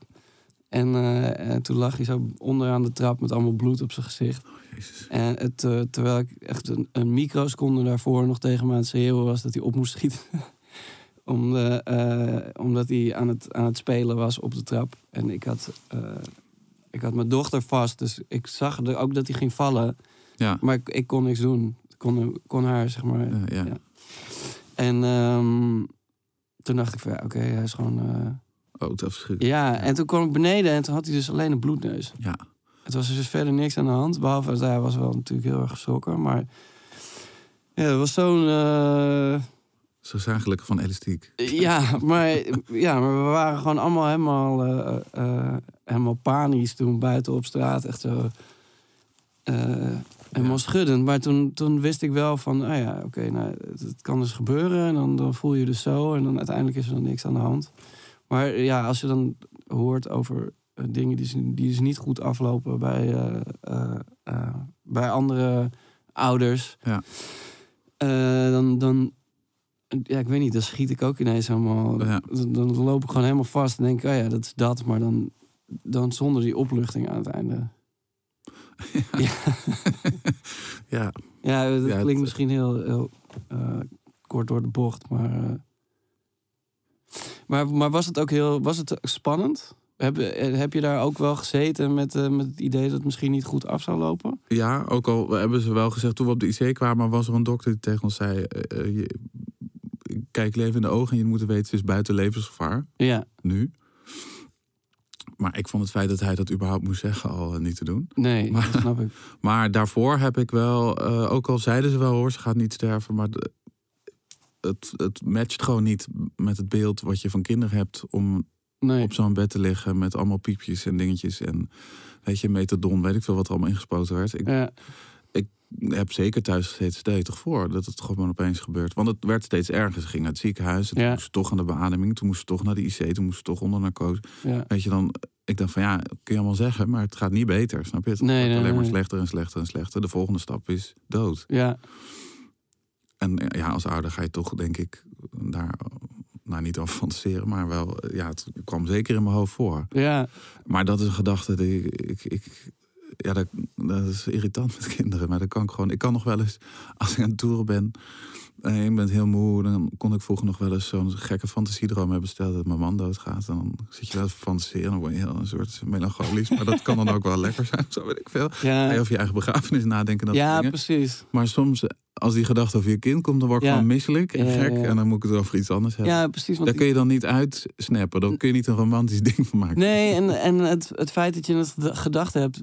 En, eh, en toen lag hij zo onderaan de trap met allemaal bloed op zijn gezicht. Jezus. En het, eh, terwijl ik echt een, een microseconde daarvoor nog tegen me aan het schreeuwen was dat hij op moest schieten. [laughs] Om de, eh, omdat hij aan het, aan het spelen was op de trap. En ik had, eh, ik had mijn dochter vast, dus ik zag er ook dat hij ging vallen. Ja. Maar ik, ik kon niks doen. Ik kon, kon haar, zeg maar. Ja, ja. Ja. En ehm, toen dacht ik van, ja, oké, hij is gewoon... eh, Oh, het is verschrikkelijk. Ja, en toen kwam ik beneden en toen had hij dus alleen een bloedneus. Ja. Het was dus verder niks aan de hand. Behalve dat hij was wel natuurlijk heel erg geschrokken. Maar ja, het was zo'n... eh, Zo zakelijk van elastiek. [laughs] ja, maar, ja, maar we waren gewoon allemaal helemaal, eh, eh, helemaal panisch toen buiten op straat. Echt zo... eh, helemaal schuddend. Maar toen, toen wist ik wel van... ah ja, oké, nou, het, het kan dus gebeuren. En dan, dan voel je dus zo. En dan uiteindelijk is er dan niks aan de hand. Maar ja, als je dan hoort over eh, dingen die, ze- die dus niet goed aflopen... bij, eh, eh, eh, bij andere ouders... Ja. eh, dan... dan ja, ik weet niet, dan schiet ik ook ineens helemaal... Ja. Dan, dan loop ik gewoon helemaal vast en denk ik... oh ja, dat is dat, maar dan, dan zonder die opluchting aan het [laughs] einde. [laughs] Ja. Ja, dat Ja, het- klinkt misschien heel, heel eh, kort door de bocht, maar, eh, maar... Maar was het ook heel... Was het spannend? Heb, eh, heb je daar ook wel gezeten met, eh, met het idee dat het misschien niet goed af zou lopen? ja, ook al hebben ze wel gezegd toen we op de IC kwamen, was er een dokter die tegen ons zei: eh, eh, je- ik Kijk leven in de ogen en je moet weten, ze is buiten levensgevaar. Ja, Nu. Maar ik vond het feit dat hij dat überhaupt moest zeggen al eh, niet te doen. [laughs] nee, Maar- dat snap ik. Maar daarvoor heb ik wel, eh, ook al zeiden ze wel hoor, ze gaat niet sterven, maar de- het, het matcht gewoon niet met het beeld wat je van kinderen hebt om Nee, op zo'n bed te liggen met allemaal piepjes en dingetjes en weet je, metadon, weet ik veel wat er allemaal ingespoten werd. Ik ja, heb zeker thuis gezeten, stel je toch voor dat het gewoon opeens gebeurt. Want het werd steeds erger. Ze ging naar het ziekenhuis, en toen Ja. moest ze toch aan de beademing, toen moest ze toch naar de IC, toen moest ze toch onder narcose. ja. Weet je dan, ik dacht van ja, dat kun je allemaal zeggen, maar het gaat niet beter, snap je? Het Nee, wordt nee, alleen maar nee. slechter en slechter en slechter. De volgende stap is dood. Ja, En eh, ja, als ouder ga je toch, denk ik, daar nou, niet over fantaseren. Maar wel, eh, ja, het kwam zeker in mijn hoofd voor. ja, Maar dat is een gedachte die ik. ik, ik- ja, dat, dat is irritant met kinderen. Maar dat kan ik gewoon. Ik kan nog wel eens, als ik aan het toeren ben en ik ben heel moe, dan kon ik vroeger nog wel eens zo'n gekke fantasiedroom hebben. Stel dat mijn man doodgaat. En dan zit je wel te fantaseren. Dan word je heel een soort melancholisch. Maar dat kan dan ook wel lekker zijn. Zo weet ik veel. Ga je ja, over je eigen begrafenis nadenken. Dat soort ja, dingen. precies. Maar soms, als die gedachte over je kind komt, dan word ik Ja. gewoon misselijk en Ja, ja, gek. ja. En dan moet ik het over iets anders hebben. Ja, precies. Want Daar kun je dan niet uitsnappen. Dan kun je niet een romantisch ding van maken. Nee, en, en het, het feit dat je het ged- gedacht hebt,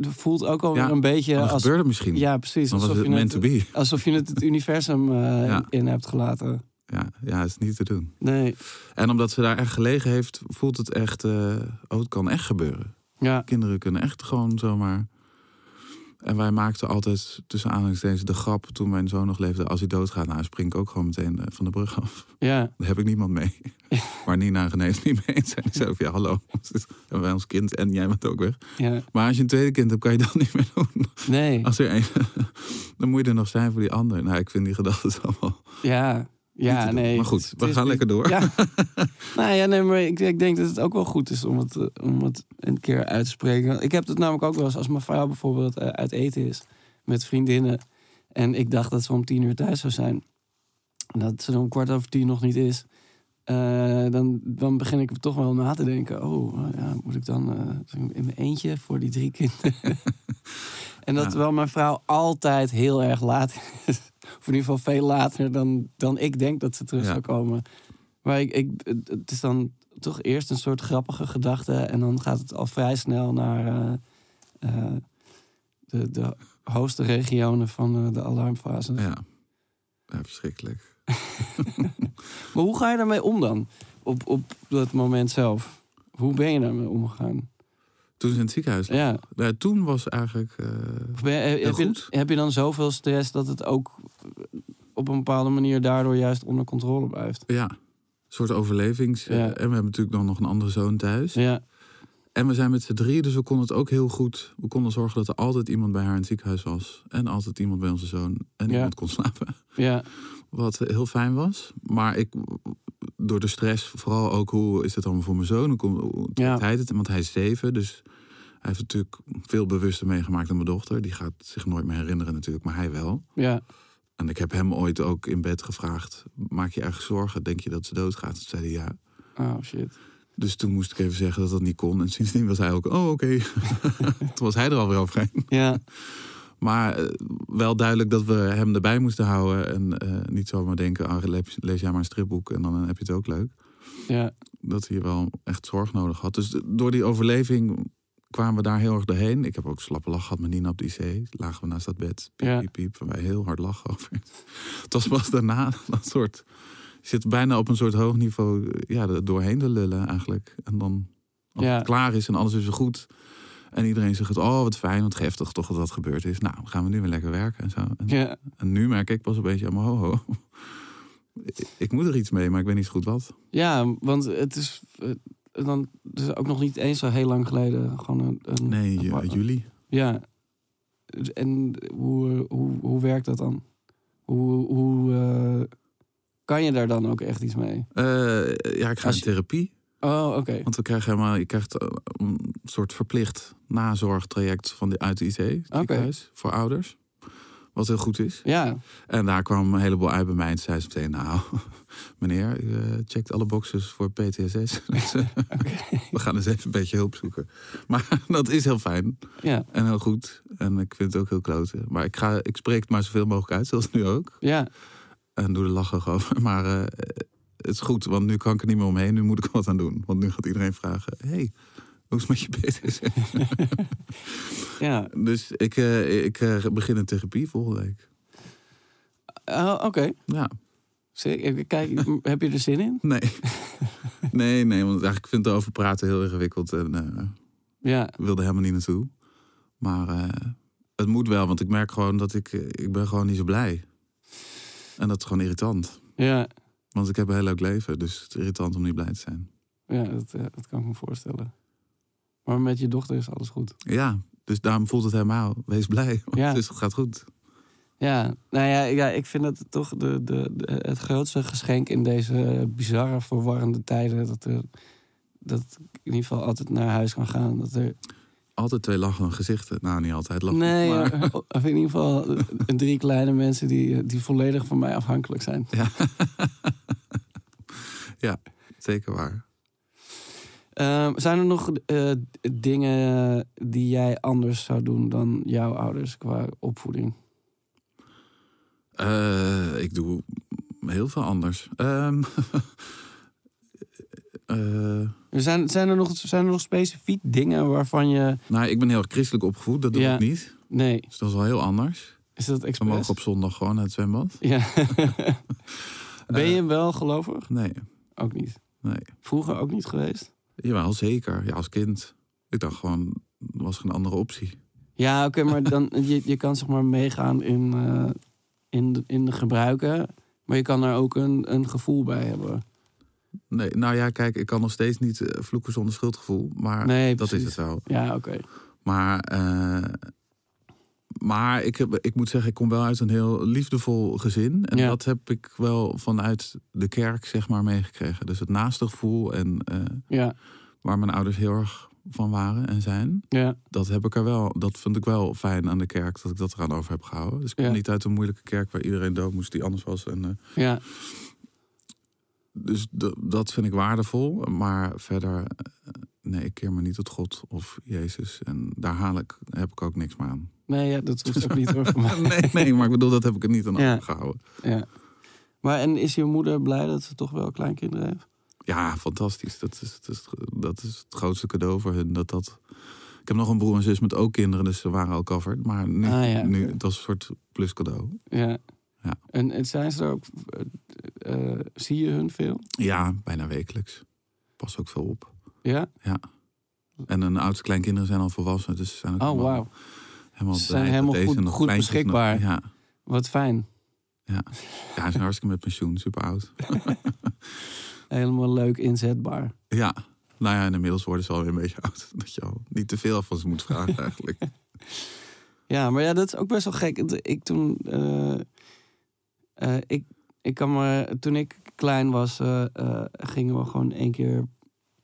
voelt ook alweer Ja, een beetje dan als. gebeurde het misschien. Ja, precies. dan was alsof het je meant to be. Alsof je het [laughs] het universum eh, Ja. in hebt gelaten. Ja, ja, is niet te doen. Nee, En omdat ze daar echt gelegen heeft, voelt het echt... eh, oh, het kan echt gebeuren. ja, Kinderen kunnen echt gewoon zomaar... En wij maakten altijd tussen aanhalingstekens de grap toen mijn zoon nog leefde. Als hij doodgaat, nou spring ik ook gewoon meteen eh, van de brug af. [laughs] ja, Daar heb ik niemand [laughs] mee. Maar Nina en René is niet mee [laughs] eens. zijn. Ik zei ook, ja, hallo. En wij ons kind en jij bent ook weg. ja. Maar als je een tweede kind hebt, kan je dat [laughs] niet meer doen. Nee, Als er één, [laughs] dan moet je er nog zijn voor die ander. Nou, ik vind die gedachten [laughs] allemaal ja, niet te ja, doen. nee. Maar het- goed, het we is niet- gaan lekker door. [laughs] Ja. nou ja, nee, maar ik, ik denk dat het ook wel goed is om het, eh, om het een keer uit te spreken. Ik heb dat namelijk ook wel eens als mijn vrouw bijvoorbeeld eh, uit eten is met vriendinnen. En ik dacht dat ze om tien uur thuis zou zijn. En dat ze er om kwart over tien nog niet is. eh, dan, dan begin ik toch wel na te denken. Oh, eh, ja, moet ik dan eh, in mijn eentje voor die drie kinderen? [laughs] en dat Ja. wel mijn vrouw altijd heel erg laat is. Of in ieder geval veel later dan, dan ik denk dat ze terug Ja. zou komen. Maar ik, ik, het- het is dan toch eerst een soort grappige gedachte. En dan gaat het al vrij snel naar eh, eh, de, de hoogste regionen van eh, de alarmfase. Ja. Ja, verschrikkelijk. Maar hoe ga je daarmee om dan? Op, op dat moment zelf. Hoe ben je daarmee omgegaan? Toen ze in het ziekenhuis lag. Ja. Nou, toen was eigenlijk... eh, Of ben je- heb, Heel je, goed. heb je dan zoveel stress dat het ook eh, op een bepaalde manier daardoor juist onder controle blijft? ja, een soort overlevings... eh, Ja. en we hebben natuurlijk dan nog een andere zoon thuis. Ja, En we zijn met z'n drieën, dus we konden het ook heel goed... We konden zorgen dat er altijd iemand bij haar in het ziekenhuis was. En altijd iemand bij onze zoon. En Ja. [laughs] iemand kon slapen. ja, Wat heel fijn was. Maar ik, door de stress, vooral ook hoe is het allemaal voor mijn zoon? Hoe komt hoe trekt Ja. hij het? Want hij is zeven, dus hij heeft natuurlijk veel bewuster meegemaakt dan mijn dochter. Die gaat zich nooit meer herinneren natuurlijk, maar hij wel. Ja, En ik heb hem ooit ook in bed gevraagd, maak je erg zorgen? Denk je dat ze doodgaat? Toen zei hij ja. oh shit. Dus toen moest ik even zeggen dat dat niet kon. En sindsdien was hij ook, oh oké. [laughs] toen was hij er alweer overheen. Ja, Maar eh, wel duidelijk dat we hem erbij moesten houden. En eh, niet zomaar denken, ah, lees, lees jij maar een stripboek en dan eh, heb je het ook leuk. ja, Dat hij wel echt zorg nodig had. Dus door die overleving kwamen we daar heel erg doorheen. Ik heb ook slappe lach gehad met Nina op de IC. Lagen we naast dat bed, piep, Ja. piep, piep. En wij heel hard lachen over. [laughs] Het was pas daarna [laughs] dat soort... Je zit bijna op een soort hoog niveau ja, er doorheen te lullen eigenlijk. En dan als Ja. het klaar is en alles is weer goed... En iedereen zegt, oh wat fijn, wat heftig toch dat dat gebeurd is. Nou, gaan we nu weer lekker werken en zo. En ja. en nu merk ik pas een beetje aan mijn ho, ho. [laughs] Ik moet er iets mee, maar ik weet niet zo goed wat. Ja, want het is, eh, dan, het is ook nog niet eens zo heel lang geleden. Gewoon een, een- Nee, eh, een- ju- juli. Ja. En hoe, hoe, hoe werkt dat dan? Hoe, hoe eh, kan je daar dan ook echt iets mee? Eh, ja, ik ga Als in je- therapie. Oh, oké. Want we krijgen helemaal, je krijgt eh, een soort verplicht nazorgtraject van de, uit de IC. ziekenhuis, Voor ouders. Wat heel goed is. Ja, En daar kwam een heleboel uit bij mij. En toen zei ze meteen, nou, [laughs] meneer, u eh, checkt alle boxes voor PTSS. [laughs] Dus, eh, We gaan eens even een beetje hulp zoeken. Maar [laughs] dat is heel fijn. ja, En heel goed. En ik vind het ook heel kloten. Maar ik, ga, ik spreek het maar zoveel mogelijk uit, zoals nu ook. ja, En doe er lachen over. [laughs] Maar eh, het is goed, want nu kan ik er niet meer omheen. Nu moet ik er wat aan doen. Want nu gaat iedereen vragen... hey, hoe is het met je PTSS? ja. [laughs] dus ik, eh, ik eh, begin een therapie volgende week. Oh, oké. Ja, Zeker. Kijk, m- [laughs] heb je er zin in? nee. [laughs] nee, nee, want eigenlijk vind ik erover praten heel ingewikkeld. En eh, Ja, ik wilde helemaal niet naartoe. Maar eh, het moet wel, want ik merk gewoon dat ik... eh, Ik ben gewoon niet zo blij. En dat is gewoon irritant. ja, Want ik heb een heel leuk leven, dus het is irritant om niet blij te zijn. ja dat, eh, dat kan ik me voorstellen. Maar met je dochter is alles goed. Ja, dus daarom voelt het helemaal. Wees blij, want Ja. dus het gaat goed. Ja, nou ja, ja ik vind dat toch de, de, de- het grootste geschenk in deze bizarre, verwarrende tijden. Dat, er, dat ik in ieder geval altijd naar huis kan gaan. Dat er, Altijd twee lachende gezichten. Nou, niet altijd lachen. nee, maar- eh, of in ieder geval eh, drie kleine mensen die, die volledig van mij afhankelijk zijn. Ja. [laughs] ja, zeker waar. Ehm, zijn er nog eh, dingen die jij anders zou doen dan jouw ouders qua opvoeding? Eh, ik doe heel veel anders. Ehm, [laughs] eh, Zijn, zijn, er nog, zijn er nog specifiek dingen waarvan je... nou, ik ben heel erg christelijk opgevoed, dat doe Ja. ik niet. Nee, Dus dat is wel heel anders. is dat We mogen expres? op zondag gewoon naar het zwembad. Ja. [laughs] ben je wel gelovig? Nee, Ook niet. Eh. nee. Vroeger ook niet geweest? Jawel, zeker. Ja, als kind. Ik dacht gewoon, er was geen andere optie. Ja, oké, [laughs] maar dan, je, je kan zeg maar meegaan in, eh, in, de, in de gebruiken. Maar je kan er ook een, een gevoel bij hebben. Nee, nou ja, kijk, ik kan nog steeds niet eh, vloeken zonder schuldgevoel. Maar Nee, dat is precies. het wel. Ja, oké. Maar, eh, maar ik, heb, ik moet zeggen, ik kom wel uit een heel liefdevol gezin. En Ja. dat heb ik wel vanuit de kerk, zeg maar, meegekregen. Dus het naaste gevoel en eh, Ja, waar mijn ouders heel erg van waren en zijn. ja, Dat heb ik er wel. Dat vind ik wel fijn aan de kerk, dat ik dat eraan over heb gehouden. Dus ik kom Ja. niet uit een moeilijke kerk waar iedereen dood moest die anders was. En, eh, ja, Dus d- dat vind ik waardevol. Maar verder, eh, nee, ik keer me niet tot God of Jezus. En daar haal ik, heb ik ook niks meer aan. nee, ja, dat hoeft ook niet hoor. [laughs] voor mij. nee, nee, maar ik bedoel, dat heb ik er niet aan Ja. overgehouden. Ja. Maar en is je moeder blij dat ze toch wel kleinkinderen heeft? Ja, fantastisch. Dat is, dat, is, dat is het grootste cadeau voor hun. Dat, dat... Ik heb nog een broer en zus met ook kinderen, dus ze waren al covered. Maar nu, Ah, ja, nu oké. dat is een soort pluscadeau. Ja. Ja. En, en zijn ze er ook... eh, eh, zie je hun veel? Ja, bijna wekelijks. Pas ook veel op. Ja? En hun oudste kleinkinderen zijn al volwassenen, dus ze zijn ook Oh, helemaal, wauw. helemaal Ze zijn blij dat helemaal deze goed- nog goed kleintjes nog- beschikbaar. ja. Wat fijn. Ja, hij is hartstikke met pensioen, super oud. Helemaal leuk inzetbaar. Ja, nou ja, en inmiddels worden ze alweer een beetje [laughs] oud. Dat je al niet te veel van ze moet vragen eigenlijk. [laughs] Ja, maar ja, dat is ook best wel gek. Het- Ik toen. eh, eh, ik, Ik kan me, toen ik klein was, eh, eh, gingen we gewoon één keer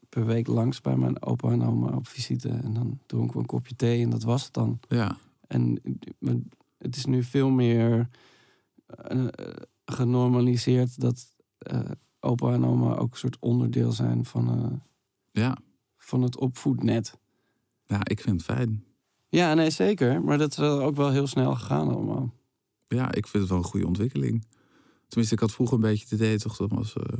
per week langs bij mijn opa en oma op visite. En dan dronken we een kopje thee en dat was het dan. Ja, En eh, het is nu veel meer eh, eh, genormaliseerd dat eh, opa en oma ook een soort onderdeel zijn van, eh, ja. van het opvoednet. ja ik vind het fijn. Ja, nee, zeker. Maar dat is wel ook wel heel snel gegaan allemaal. Ja, ik vind het wel een goede ontwikkeling. Tenminste, ik had vroeger een beetje het idee, toch, dat was... eh,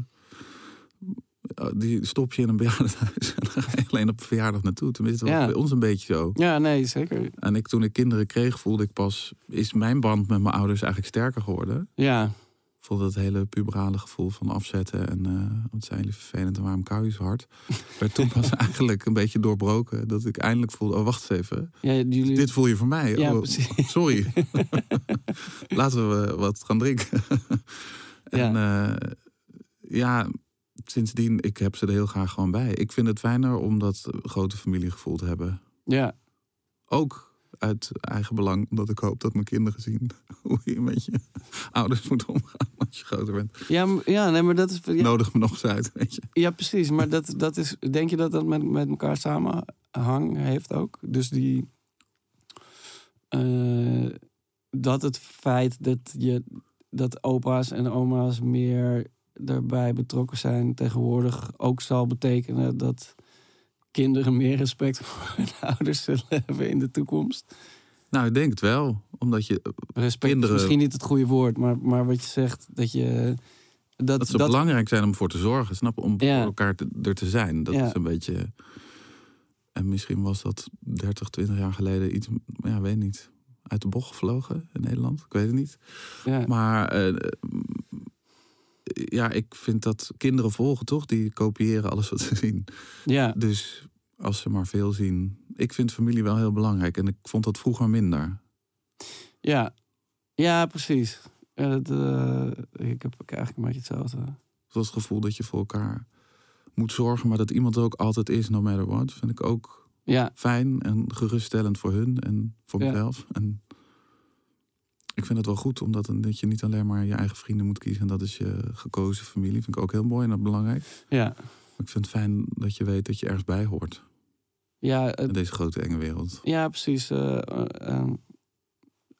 eh, die stop je in een bejaardenhuis en dan ga je alleen op verjaardag naartoe. Tenminste, dat was Ja. bij ons een beetje zo. Ja, nee, zeker. En ik, toen ik kinderen kreeg, voelde ik pas... is mijn band met mijn ouders eigenlijk sterker geworden. Ja, Ik voelde dat hele puberale gevoel van afzetten... en eh, wat zijn jullie vervelend en waarom kou je zo [laughs] hard? Maar toen was eigenlijk een beetje doorbroken... dat ik eindelijk voelde, oh, wacht eens even. ja jullie... Dit voel je voor mij. Ja, Oh, precies. [laughs] sorry. [laughs] Laten we eh, wat gaan drinken. en eh, ja, sindsdien, ik heb ze er heel graag gewoon bij. Ik vind het fijner om dat grote familiegevoel te hebben. Ja, Ook uit eigen belang, omdat ik hoop dat mijn kinderen zien [laughs] hoe je met je ouders moet omgaan als je groter bent. ja, m- ja nee, maar dat is... Ja, Nodig me nog eens uit, weet je. ja, precies. Maar dat, dat is... Denk je dat dat met, met elkaar samenhang heeft ook? Dus die... eh, dat het feit dat je... Dat opa's en oma's meer daarbij betrokken zijn tegenwoordig ook zal betekenen dat kinderen meer respect voor hun [laughs] ouders zullen hebben in de toekomst. Nou, ik denk het wel. Omdat je, Respect Kinderen- is misschien niet het goede woord, maar, maar wat je zegt, dat je... Dat, dat ze belangrijk zijn om voor te zorgen, snap je? Om Ja. voor elkaar te- er te zijn. Dat Ja. is een beetje... En misschien was dat 30, 20 jaar geleden iets, ja, weet niet, uit de bocht gevlogen in Nederland. Ik weet het niet. ja. Maar eh, ja, ik vind dat kinderen volgen toch, die kopiëren alles wat ze [laughs] zien. ja, Dus als ze maar veel zien. Ik vind familie wel heel belangrijk en ik vond dat vroeger minder. ja, ja, precies. Ja, dat, eh, ik heb ook eigenlijk een beetje hetzelfde. Dus Dat het gevoel dat je voor elkaar moet zorgen, maar dat iemand er ook altijd is, no matter what, vind ik ook Ja, fijn en geruststellend voor hun en voor Ja. mezelf. En ik vind het wel goed, omdat een- dat je niet alleen maar je eigen vrienden moet kiezen. En dat is je gekozen familie. Vind ik ook heel mooi en dat belangrijk. ja, Maar ik vind het fijn dat je weet dat je ergens bij hoort. ja, het- In deze grote enge wereld. ja precies. eh, eh, ehm,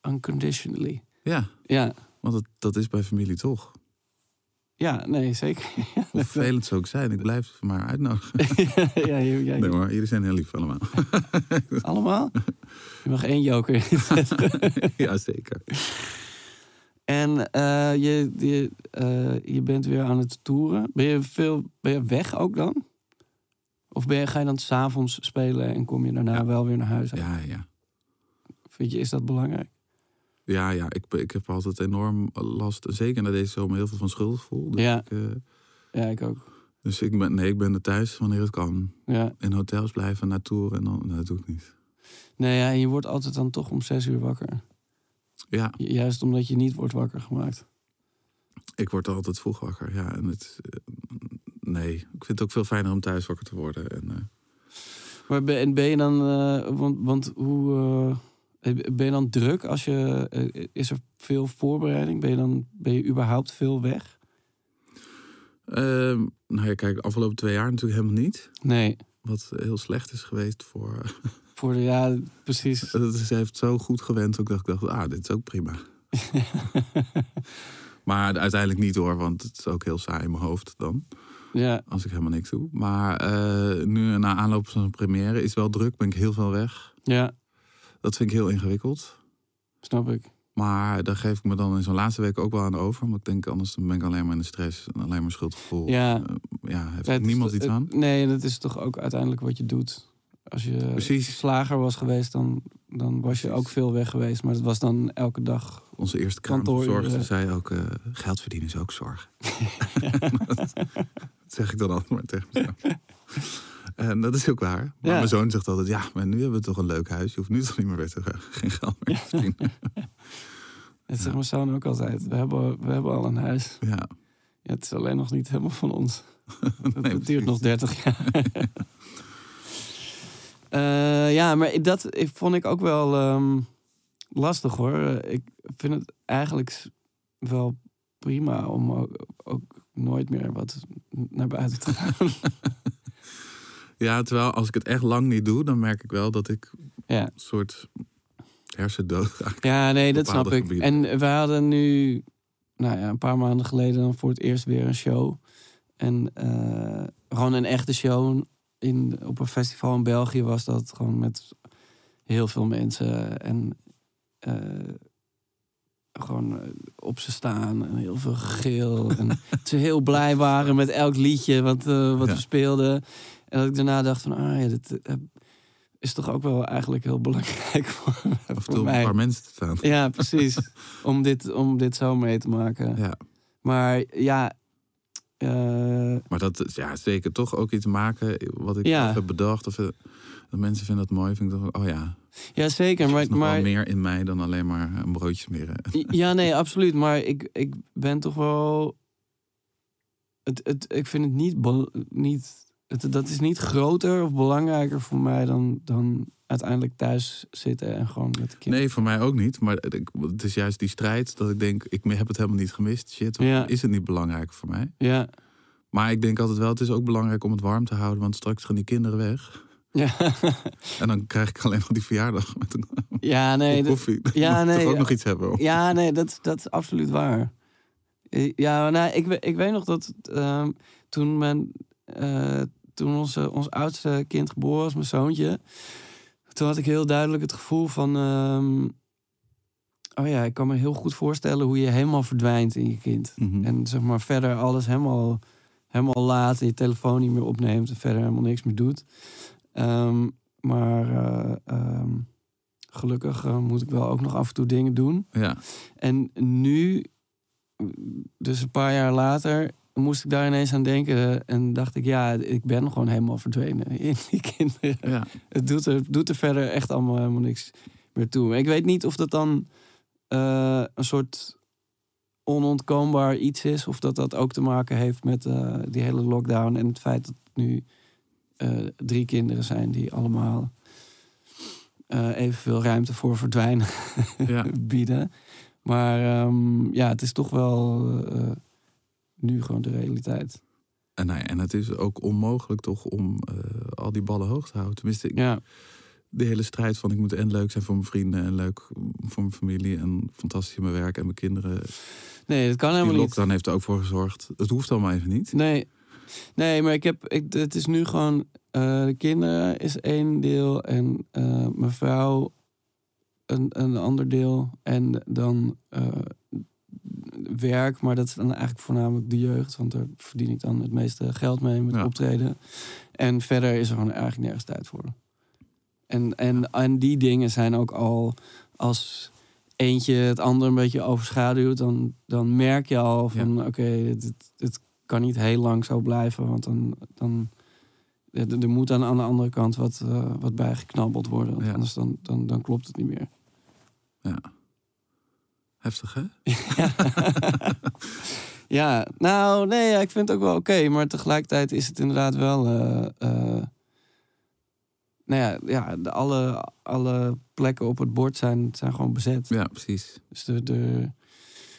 unconditionally. Ja, Ja, want dat, dat is bij familie toch. ja, nee, zeker. [laughs] Hoe vervelend ze ook zijn, ik blijf ze maar uitnodigen. ja, je- ja, je- Nee hoor, jullie zijn heel [laughs] lief allemaal. Allemaal? Je mag één joker inzetten. ja, zeker. En eh, je, je, eh, je bent weer aan het toeren. Ben je, veel, ben je weg ook dan? Of ben je, ga je dan s'avonds spelen en kom je daarna Ja. wel weer naar huis? Ja, ja. Vind je, is dat belangrijk? Ja, ja ik, ik heb altijd enorm last. Zeker na deze zomer heel veel van schuldgevoel. Dus Ja. ik, eh, Ja, ik ook. Dus ik ben, nee, ik ben er thuis wanneer het kan. Ja. In hotels blijven, naar toeren en dan, nee, dat doe ik niet. Nee, ja, en je wordt altijd dan toch om zes uur wakker. Ja, Ju- Juist omdat je niet wordt wakker gemaakt. ik word altijd vroeg wakker. Ja, en het, eh, nee, ik vind het ook veel fijner om thuis wakker te worden. En, eh, Maar ben, en ben je dan... eh, want, want hoe... eh, ben je dan druk als je... eh, is er veel voorbereiding? Ben je dan ben je überhaupt veel weg? ehm, nou ja, kijk, de afgelopen twee jaar natuurlijk helemaal niet. Nee. Wat heel slecht is geweest voor... [laughs] Voor de, ja, precies. Dat is, ze heeft zo goed gewend ook dat ik dacht, ah, dit is ook [laughs] prima. Maar uiteindelijk niet hoor, want het is ook heel saai in mijn hoofd dan. ja. Als ik helemaal niks doe. Maar eh, nu na aanloop van een première is wel druk, ben ik heel veel weg. Ja, Dat vind ik heel ingewikkeld. snap ik. Maar daar geef ik me dan in zo'n laatste week ook wel aan over. Want ik denk, anders dan ben ik alleen maar in de stress en alleen maar schuldgevoel. Ja, Ja, heeft het- eh, eh, niemand iets het- aan. Nee, dat is toch ook uiteindelijk wat je doet. Als je Precies. slager was geweest, dan, dan was je Precies. ook veel weg geweest. Maar het was dan elke dag. Onze eerste Kantoor- kamerverzorgster zei ook, eh, geld verdienen is ook [laughs] zorg. dat zeg ik dan altijd maar tegen mezelf. Eh, En dat is ook waar. Maar Ja. mijn zoon zegt altijd, ja, maar nu hebben we toch een leuk huis. Je hoeft nu toch niet meer weer te gaan. Geen geld meer te [laughs] verdienen. Dat zegt mijn zoon ook altijd. We hebben, we hebben al een huis. Ja, Ja, het is alleen nog niet helemaal van ons. [laughs] Het Nee, duurt precies. nog 30 jaar. [laughs] Eh, ja, maar ik- dat ik, vond ik ook wel ehm, lastig hoor. Eh, Ik vind het eigenlijk s- wel prima om ook, ook nooit meer wat naar buiten te gaan. Ja, terwijl als ik het echt lang niet doe, dan merk ik wel dat ik ja. een soort hersendood raak. Ja, nee, dat bepaalde snap ik. gebieden. En we hadden nu, nou ja, een paar maanden geleden dan voor het eerst weer een show. En eh, gewoon een echte show in, op een festival in België was dat gewoon met heel veel mensen. En eh, gewoon eh, op ze staan en heel veel [laughs] gegil. en ze heel blij waren met elk liedje wat, eh, wat Ja. we speelden. En dat ik daarna dacht van, ah ja, dit... eh, is toch ook wel eigenlijk heel belangrijk [laughs] voor, Af en voor toe om een mij. paar mensen te staan. Ja, [laughs] precies. om, dit, om dit zo mee te maken. Ja. Maar ja, eh, Maar dat is ja, zeker toch ook iets maken wat ik Ja. zelf heb bedacht. Of, eh, dat mensen vinden dat mooi. Vind ik toch, oh ja, ja zeker. er Maar, is nog maar, wel meer in mij dan alleen maar een broodje smeren. ja, nee, absoluut. Maar ik, ik ben toch wel. Het, het, ik vind het niet. bel- niet het, dat is niet groter of belangrijker voor mij dan, dan uiteindelijk thuis zitten en gewoon met de kinderen. Nee, voor mij ook niet. Maar het- ik- het is juist die strijd dat ik denk, ik heb het helemaal niet gemist. Shit, waarom Ja. is het niet belangrijk voor mij? Ja. [laughs] Maar ik denk altijd wel, het is ook belangrijk om het warm te houden. Want straks gaan die kinderen weg. Ja, En dan krijg ik alleen nog die verjaardag met een kop ja [laughs] nee. dat- koffie. Dan ja, moet ik nee, toch ook ja. nog iets hebben. om- Ja, nee, dat, dat is absoluut waar. Eh, Ja, nou, ik, we- ik weet nog dat ehm, toen, mijn, eh, toen onze, ons oudste kind geboren was, mijn zoontje, toen had ik heel duidelijk het gevoel van, ehm, oh ja, ik kan me heel goed voorstellen hoe je helemaal verdwijnt in je kind. Mhm. En zeg maar verder alles helemaal, helemaal laat. en Je telefoon niet meer opneemt. En verder helemaal niks meer doet. Ehm, maar eh, ehm, gelukkig eh, moet ik wel ook nog af en toe dingen doen. Ja. En nu, dus een paar jaar later, moest ik daar ineens aan denken. En dacht ik, ja, ik ben gewoon helemaal verdwenen [laughs] in die kinderen. ja. Het doet er, doet er verder echt allemaal helemaal niks meer toe. Ik weet niet of dat dan eh, een soort onontkoombaar iets is. Of dat dat ook te maken heeft met eh, die hele lockdown. En het feit dat het nu eh, drie kinderen zijn die allemaal eh, evenveel ruimte voor verdwijnen ja. bieden. Maar ehm, ja, het is toch wel eh, nu gewoon de realiteit. En, nou ja, en het is ook onmogelijk toch om eh, al die ballen hoog te houden. Tenminste, ik- Ja, de hele strijd van ik moet en leuk zijn voor mijn vrienden... en leuk voor mijn familie en fantastisch in mijn werk en mijn kinderen. nee, dat kan Die helemaal niet. lockdown heeft er ook voor gezorgd. Het hoeft allemaal even niet. Nee, nee maar ik heb, ik, het is nu gewoon. eh, de kinderen is één deel en eh, mijn vrouw een, een ander deel. En dan eh, werk, maar dat is dan eigenlijk voornamelijk de jeugd, want daar verdien ik dan het meeste geld mee met Ja. optreden. En verder is er gewoon eigenlijk nergens tijd voor. En, en, en die dingen zijn ook al als eentje het ander een beetje overschaduwt, dan, dan merk je al van oké, dit, dit- dit kan niet heel lang zo blijven. Want dan, dan er er moet aan, aan de andere kant wat, eh, wat bijgeknabbeld worden. Want Ja. anders dan, dan, dan klopt het niet meer. [laughs] Heftig, hè? ja, nou nee, ja, ik vind het ook wel oké. maar tegelijkertijd is het inderdaad wel. eh, eh, nou ja, ja de, alle, alle plekken op het bord zijn, zijn gewoon bezet. Ja, precies. Dus de, de...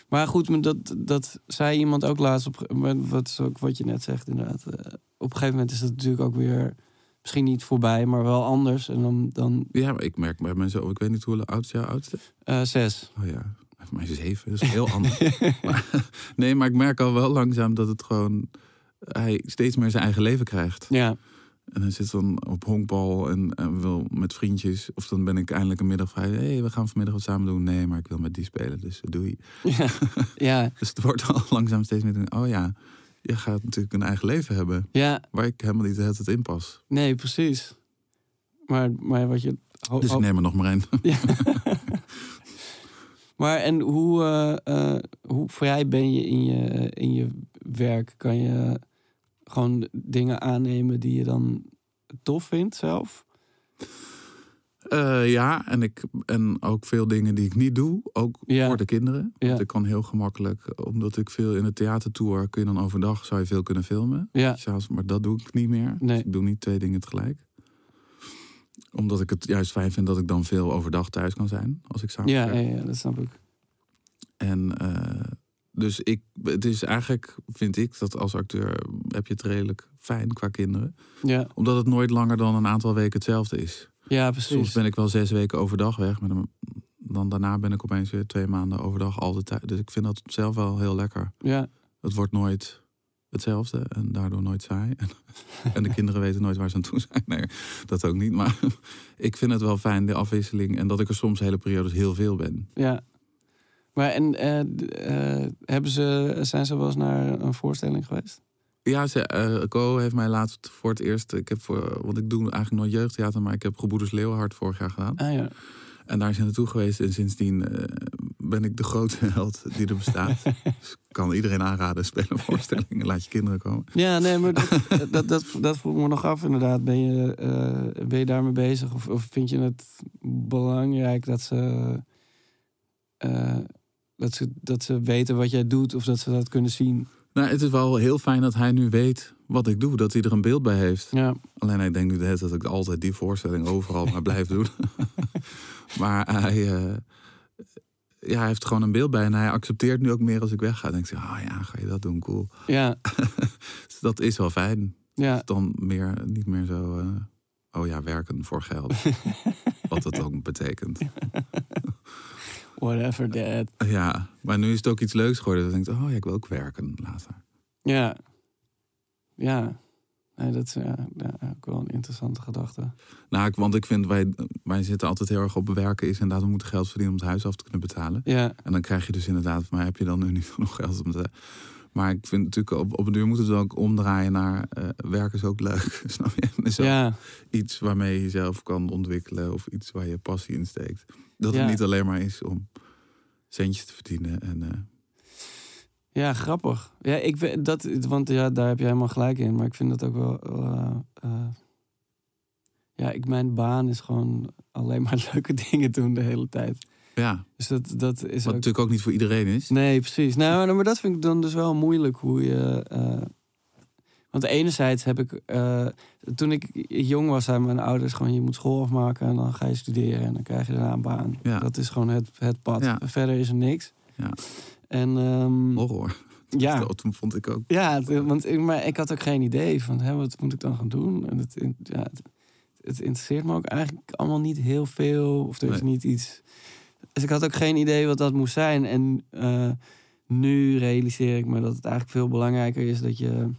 Maar goed, maar dat, dat zei iemand ook laatst. Op, maar wat is ook wat je net zegt, inderdaad. Eh, Op een gegeven moment is dat natuurlijk ook weer. Misschien niet voorbij, maar wel anders. En dan, dan Ja, maar ik merk bij mensen, ik weet niet hoe oud is jouw oudste? eh, zes. Oh ja, even mij zeven, dat is heel anders. [laughs] Maar- nee, maar ik merk al wel langzaam dat het gewoon... Hij steeds meer zijn eigen leven krijgt. Ja, En hij zit dan op honkbal en, en wil met vriendjes. Of dan ben ik eindelijk een middag vrij. Hé, hey, we gaan vanmiddag wat samen doen. Nee, maar ik wil met die spelen, dus doei. ja, ja, Dus het wordt [laughs] al langzaam steeds meer... Oh ja, je gaat natuurlijk een eigen leven hebben. ja. Waar ik helemaal niet de hele tijd in pas. Nee, precies. Maar, maar wat je. ho- Dus ho- ik neem er nog maar één. [laughs] Ja. maar en hoe, eh, eh, hoe vrij ben je in, je in je werk? Kan je gewoon dingen aannemen die je dan tof vindt zelf? Eh, ja, en, ik, en ook veel dingen die ik niet doe, ook Ja. voor de kinderen. Ja. Want ik kan heel gemakkelijk, omdat ik veel in de theater tour, kun je dan overdag zou je veel kunnen filmen. Ja, S'avonds, maar dat doe ik niet meer. Nee. Dus ik doe niet twee dingen tegelijk. Omdat ik het juist fijn vind dat ik dan veel overdag thuis kan zijn, als ik s'avonds ja, werk. ja, ja, dat snap ik. En eh, Dus ik, het is eigenlijk, vind ik, dat als acteur heb je het redelijk fijn qua kinderen. Ja, Omdat het nooit langer dan een aantal weken hetzelfde is. ja Soms precies. ben ik wel zes weken overdag weg. Maar dan, dan daarna ben ik opeens weer twee maanden overdag al de tijd. Dus ik vind dat zelf wel heel lekker. Ja, Het wordt nooit hetzelfde en daardoor nooit saai. En, [laughs] en de kinderen weten nooit waar ze aan toe zijn. Nee, dat ook niet. Maar [laughs] ik vind het wel fijn, de afwisseling. En dat ik er soms hele periodes heel veel ben. ja. Maar en eh, d- eh, hebben ze, zijn ze wel eens naar een voorstelling geweest? Ja, ze, eh, Co heeft mij laatst voor het eerst... Ik heb voor, want ik doe eigenlijk nooit jeugdtheater... maar ik heb Gebroeders Leeuwhard vorig jaar gedaan. Ah ja. En daar is hij naartoe geweest. En sindsdien eh, ben ik de grote [laughs] held die er bestaat. dus ik kan iedereen aanraden, spelen voorstellingen. Laat je kinderen komen. Ja, nee, maar dat, [laughs] dat, dat, dat vroeg me nog af inderdaad. Ben je, eh, ben je daarmee bezig? Of, of vind je het belangrijk dat ze, eh, dat, ze, dat ze weten wat jij doet of dat ze dat kunnen zien? Nou, het is wel heel fijn dat hij nu weet wat ik doe. Dat hij er een beeld bij heeft. Ja, Alleen ik denk nu de hele tijd dat ik altijd die voorstelling overal maar blijf doen. [laughs] maar hij, eh, ja, hij heeft er gewoon een beeld bij. En hij accepteert nu ook meer als ik wegga. Dan denk ik, oh ja, ga je dat doen? Cool. ja, Dus dat is wel fijn. ja. Dan meer, niet meer zo, eh, oh ja, werken voor geld. wat dat ook betekent. Whatever, dad. Ja, maar nu is het ook iets leuks geworden. Dan denk ik, oh ja, ik wil ook werken later. Ja. Ja. Nee, dat is ja, ja, ook wel een interessante gedachte. Nou, ik, want ik vind, wij, wij zitten altijd heel erg op werken is inderdaad, we moeten geld verdienen om het huis af te kunnen betalen. Ja, En dan krijg je dus inderdaad, maar heb je dan nu niet [laughs] genoeg geld om te... Maar ik vind natuurlijk, op, op een duur moet het ook omdraaien naar eh, werk is ook leuk, [laughs] snap je? En Is ook ja, iets waarmee je jezelf kan ontwikkelen of iets waar je passie in steekt. Dat Ja. het niet alleen maar is om centjes te verdienen en... eh, ja, grappig. Ja, ik weet dat, want ja, daar heb jij helemaal gelijk in. Maar ik vind dat ook wel. eh, eh, ja, ik, mijn baan is gewoon [laughs] alleen maar leuke dingen doen de hele tijd. ja, Dus dat, dat is wat ook. natuurlijk ook niet voor iedereen is. Nee, precies. Nou, maar- maar dat vind ik dan dus wel moeilijk hoe je. eh, want enerzijds heb ik. eh, toen ik jong was, zeiden mijn ouders gewoon: je moet school afmaken en dan ga je studeren en dan krijg je daarna een baan. Ja. Dat is gewoon het, het pad. Ja. Verder is er niks. Ja. En. ehm, Horror. [laughs] ja. Dat vond ik ook. Ja, het- want ik, maar ik had ook geen idee van hè, wat moet ik dan gaan doen. En het, in- ja, het, het interesseert me ook eigenlijk allemaal niet heel veel. Of er is Nee. niet iets. Dus ik had ook geen idee wat dat moest zijn. En eh, nu realiseer ik me dat het eigenlijk veel belangrijker is dat je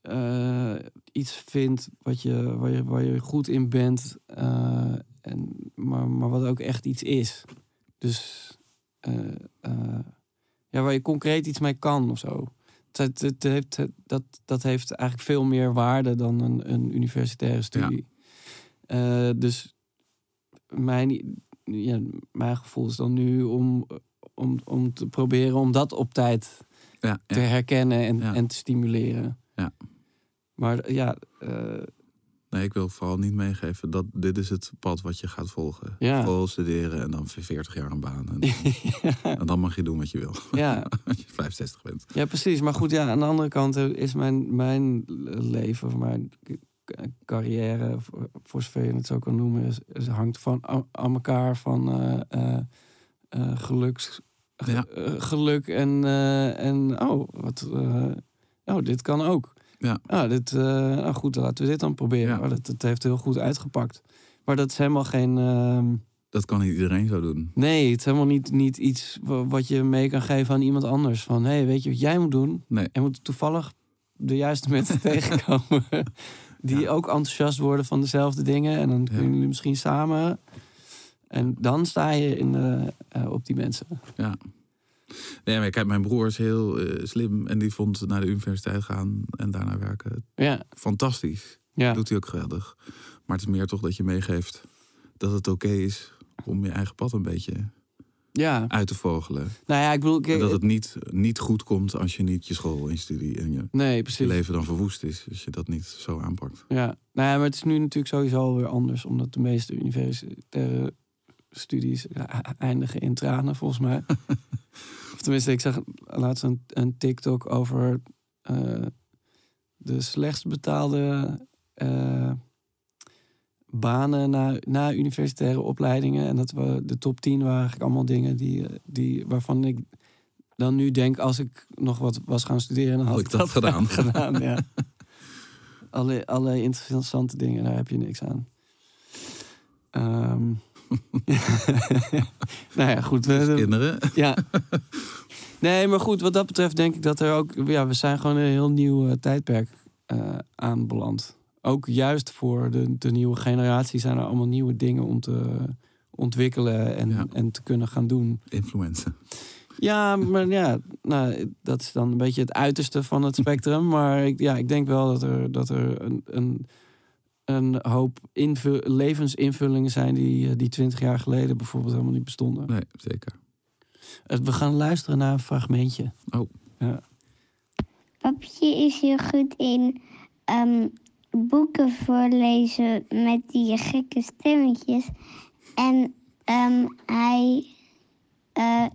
eh, iets vindt wat je, waar, je, waar je goed in bent. eh, en, maar, maar wat ook echt iets is. Dus eh, eh, ja, waar je concreet iets mee kan of zo. Dat, dat, dat heeft, dat, dat heeft eigenlijk veel meer waarde dan een, een universitaire studie. Eh, dus mijn, ja, mijn gevoel is dan nu om, om, om te proberen om dat op tijd Ja, ja. te herkennen en, Ja. en te stimuleren. Ja. Maar ja, eh, [laughs] Nee, ik wil vooral niet meegeven dat dit is het pad wat je gaat volgen. Ja. School, studeren en dan 40 jaar een baan. En, en dan mag je doen wat je wil. [laughs] ja, Als je 65 bent. ja, precies. Maar goed, ja, aan de andere kant eh, is mijn, mijn leven of mijn k- carrière, voor- voor zover je het zo kan noemen, is, is- hangt van, a- aan elkaar van eh, eh, eh, geluks, ge- Ja. eh, geluk en, eh, en oh, wat, eh, oh, dit kan ook. Ja. Ah, dit, eh, nou goed, laten we dit dan proberen. Ja. Oh, dat, dat heeft heel goed uitgepakt. Maar dat is helemaal geen... ehm, Dat kan niet iedereen zo doen. Nee, het is helemaal niet, niet iets wa- wat je mee kan geven aan iemand anders. Van, hé, hey, weet je wat jij moet doen? Nee. En moet toevallig de juiste mensen [laughs] tegenkomen. Die Ja. ook enthousiast worden van dezelfde dingen. En dan kunnen Ja. jullie misschien samen. En dan sta je in, eh, eh, op die mensen. Nee, maar kijk, mijn broer is heel eh, slim. En die vond naar de universiteit gaan en daarna werken Ja, fantastisch. ja. Doet hij ook geweldig. Maar het is meer toch dat je meegeeft dat het oké is om je eigen pad een beetje ja. uit te vogelen. Nou ja, ik bedoel... En ik- dat het niet, niet goed komt als je niet je school en je studie en je nee, je precies. leven dan verwoest is. Als je dat niet zo aanpakt. Ja. Nou ja, maar het is nu natuurlijk sowieso alweer anders. Omdat de meeste universitaire studies ja, eindigen in tranen, volgens [laughs] mij. of tenminste, ik zag laatst een, een TikTok over eh, de slechtst betaalde eh, banen na, na universitaire opleidingen. En dat we de top 10 waren eigenlijk allemaal dingen die, eh, die, waarvan ik dan nu denk als ik nog wat was gaan studeren, dan had, Had ik [laughs] dat gedaan. gedaan [laughs] ja. alle, alle interessante dingen, daar heb je niks aan. Ehm, nou ja, goed. Dus we- kinderen. [laughs] ja. Nee, maar goed, wat dat betreft denk ik dat er ook... Ja, we zijn gewoon een heel nieuw eh, tijdperk eh, aanbeland. Ook juist voor de, de nieuwe generatie zijn er allemaal nieuwe dingen om te ontwikkelen en, Ja. en te kunnen gaan doen. Influencer. Ja, maar ja, nou, dat is dan een beetje het uiterste van het spectrum. Maar ik, ja, ik denk wel dat er, dat er een, een, een hoop invul- levensinvullingen zijn die, eh, die 20 jaar geleden bijvoorbeeld helemaal niet bestonden. Nee, zeker. Het- We gaan luisteren naar een fragmentje. Oh, Papje is heel goed in ehm, boeken voorlezen met die gekke stemmetjes. En ehm, hij eh,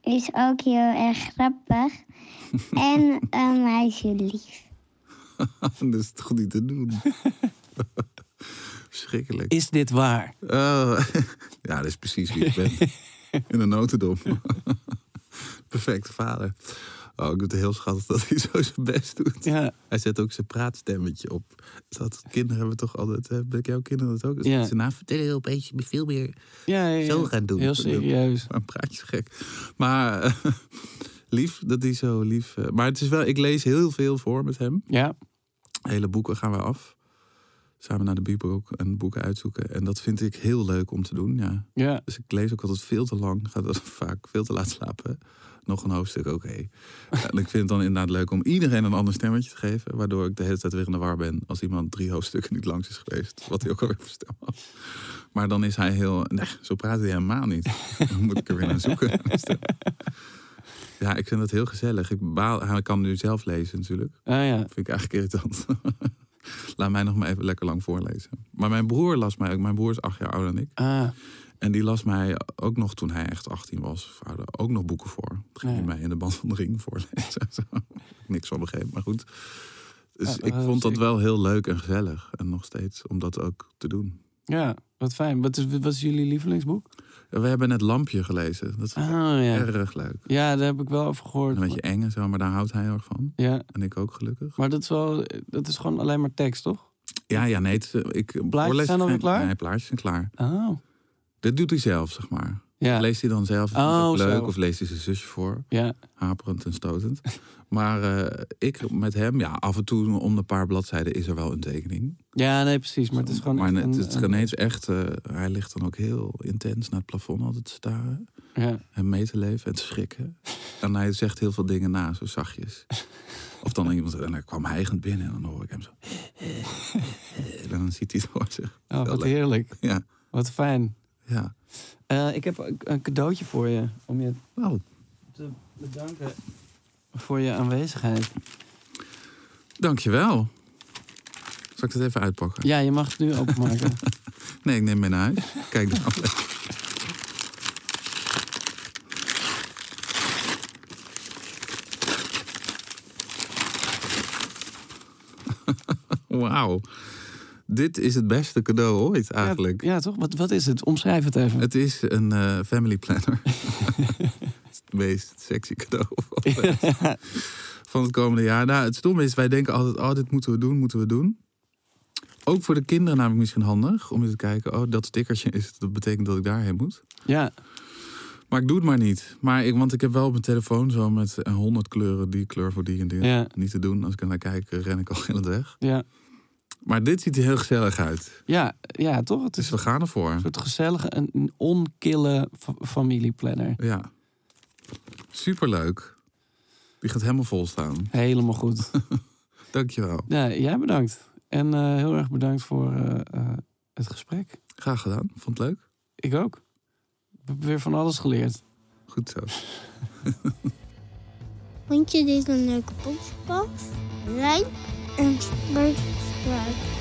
is ook heel erg [laughs] grappig. en ehm, hij is heel lief. [laughs] dat is toch niet [laughs] te doen? Schrikkelijk. Is dit waar? Oh, [laughs] ja, dat is precies wie ik [laughs] ben. In een notendom. [laughs] Perfecte vader. Oh, ik vind het heel schattig dat hij zo zijn best doet. Ja, Hij zet ook zijn praatstemmetje op. Dat kinderen hebben toch altijd... eh, Ben ik jouw kinderen dat ook? Dus Ja. Ze na vertellen opeens veel meer ja, ja, ja. zo gaan doen. Heel serieus. Een praatje gek. Maar [laughs] eh, lief dat hij zo lief... eh, maar het is wel... Ik lees heel veel voor met hem. Ja, hele boeken gaan we af. Samen naar de bibliotheek en boeken uitzoeken. En dat vind ik heel leuk om te doen, ja. ja. Dus ik lees ook altijd veel te lang. Ga dat [laughs] vaak veel te laat slapen. Nog een hoofdstuk, oké. Ja, en ik vind het dan inderdaad leuk om iedereen een ander stemmetje te geven. Waardoor ik de hele tijd weer in de war ben. Als iemand drie hoofdstukken niet langs is geweest. Wat hij ook alweer voor stem had. Maar dan is hij heel... Nee, zo praat hij helemaal niet. Dan moet ik er weer naar zoeken. Ja, ik vind dat heel gezellig. Ik baal, hij kan nu zelf lezen natuurlijk. Ah, ja. Vind ik eigenlijk irritant. [laughs] Laat mij nog maar even lekker lang voorlezen. Maar mijn broer las mij ook. Mijn broer is acht jaar ouder dan ik. Ah, En die las mij ook nog toen hij echt 18 was. of ouder, Ook nog boeken voor. Toen ging hij Ja. mij in de band van de ring voorlezen. [laughs] Zo. Niks van begrepen, maar goed. Dus Ja, dat ik was vond dat ik. wel heel leuk en gezellig. En nog steeds om dat ook te doen. ja, wat fijn. Wat is, wat is jullie lievelingsboek? Ja, We hebben net Lampje gelezen. Dat is Ah, ja. erg leuk. Ja, daar heb ik wel over gehoord. Een beetje eng en zo, maar daar houdt hij heel erg van. Ja, En ik ook gelukkig. maar dat is, wel, dat is gewoon alleen maar tekst, toch? Ja, ja, nee. Het, is, eh, ik, voorlezen zijn alweer geen- klaar? Nee, plaatjes zijn klaar. Oh. Dit doet hij zelf, zeg maar. Ja, Leest hij dan zelf vindt Oh, hij het leuk zo. of leest hij zijn zusje voor? ja. Haperend en stotend. [laughs] Maar eh, ik met hem, ja, af en toe om de paar bladzijden is er wel een tekening. ja nee, precies. Maar het is gewoon... Maar echt net- een- het is een- ineens echt, eh, hij ligt dan ook heel intens naar het plafond altijd te staren. Ja. En mee te leven en te [laughs] schrikken. En hij zegt heel veel dingen na, zo zachtjes. Of dan iemand, en dan kwam hijgend binnen en dan hoor ik hem zo. [laughs] En dan ziet hij het voor zich. Oh, wat leuk. heerlijk. Ja, Wat fijn. ja. Eh, ik heb ook een cadeautje voor je. Om je Nou, te bedanken voor je aanwezigheid. dankjewel. Zal ik dat even uitpakken? Ja, je mag het nu [laughs] openmaken. Nee, ik neem mee naar huis. Kijk de aflevering. Wauw. Dit is het beste cadeau ooit eigenlijk. Ja, ja, toch? Wat, wat is het? Omschrijf het even. Het is een eh, family planner. [laughs] het is het meest sexy cadeau van het, van het komende jaar. Nou, het stomme is, wij denken altijd, oh, dit moeten we doen, moeten we doen. Ook voor de kinderen namelijk misschien handig om eens te kijken, oh, dat stickertje is, dat betekent dat ik daarheen moet. Ja, Maar ik doe het maar niet. Maar ik, want ik heb wel op mijn telefoon zo met eh, 100 kleuren, die kleur voor die en die. Ja. Niet te doen. Als ik er naar kijk, eh, ren ik al heel het weg. ja. Maar dit ziet er heel gezellig uit. Ja, ja, toch? Het is Dus we gaan ervoor. Een soort gezellige en een onkille fa- familieplanner. Ja. Superleuk. Die gaat helemaal vol staan. Helemaal [laughs] goed. Dankjewel. Ja, jij bedankt. En eh, heel erg bedankt voor eh, eh, het gesprek. Graag gedaan. Vond het leuk? Ik ook. Ik heb weer van alles geleerd. Goed zo. Vond je dit een leuke podcast? Like en subscribe.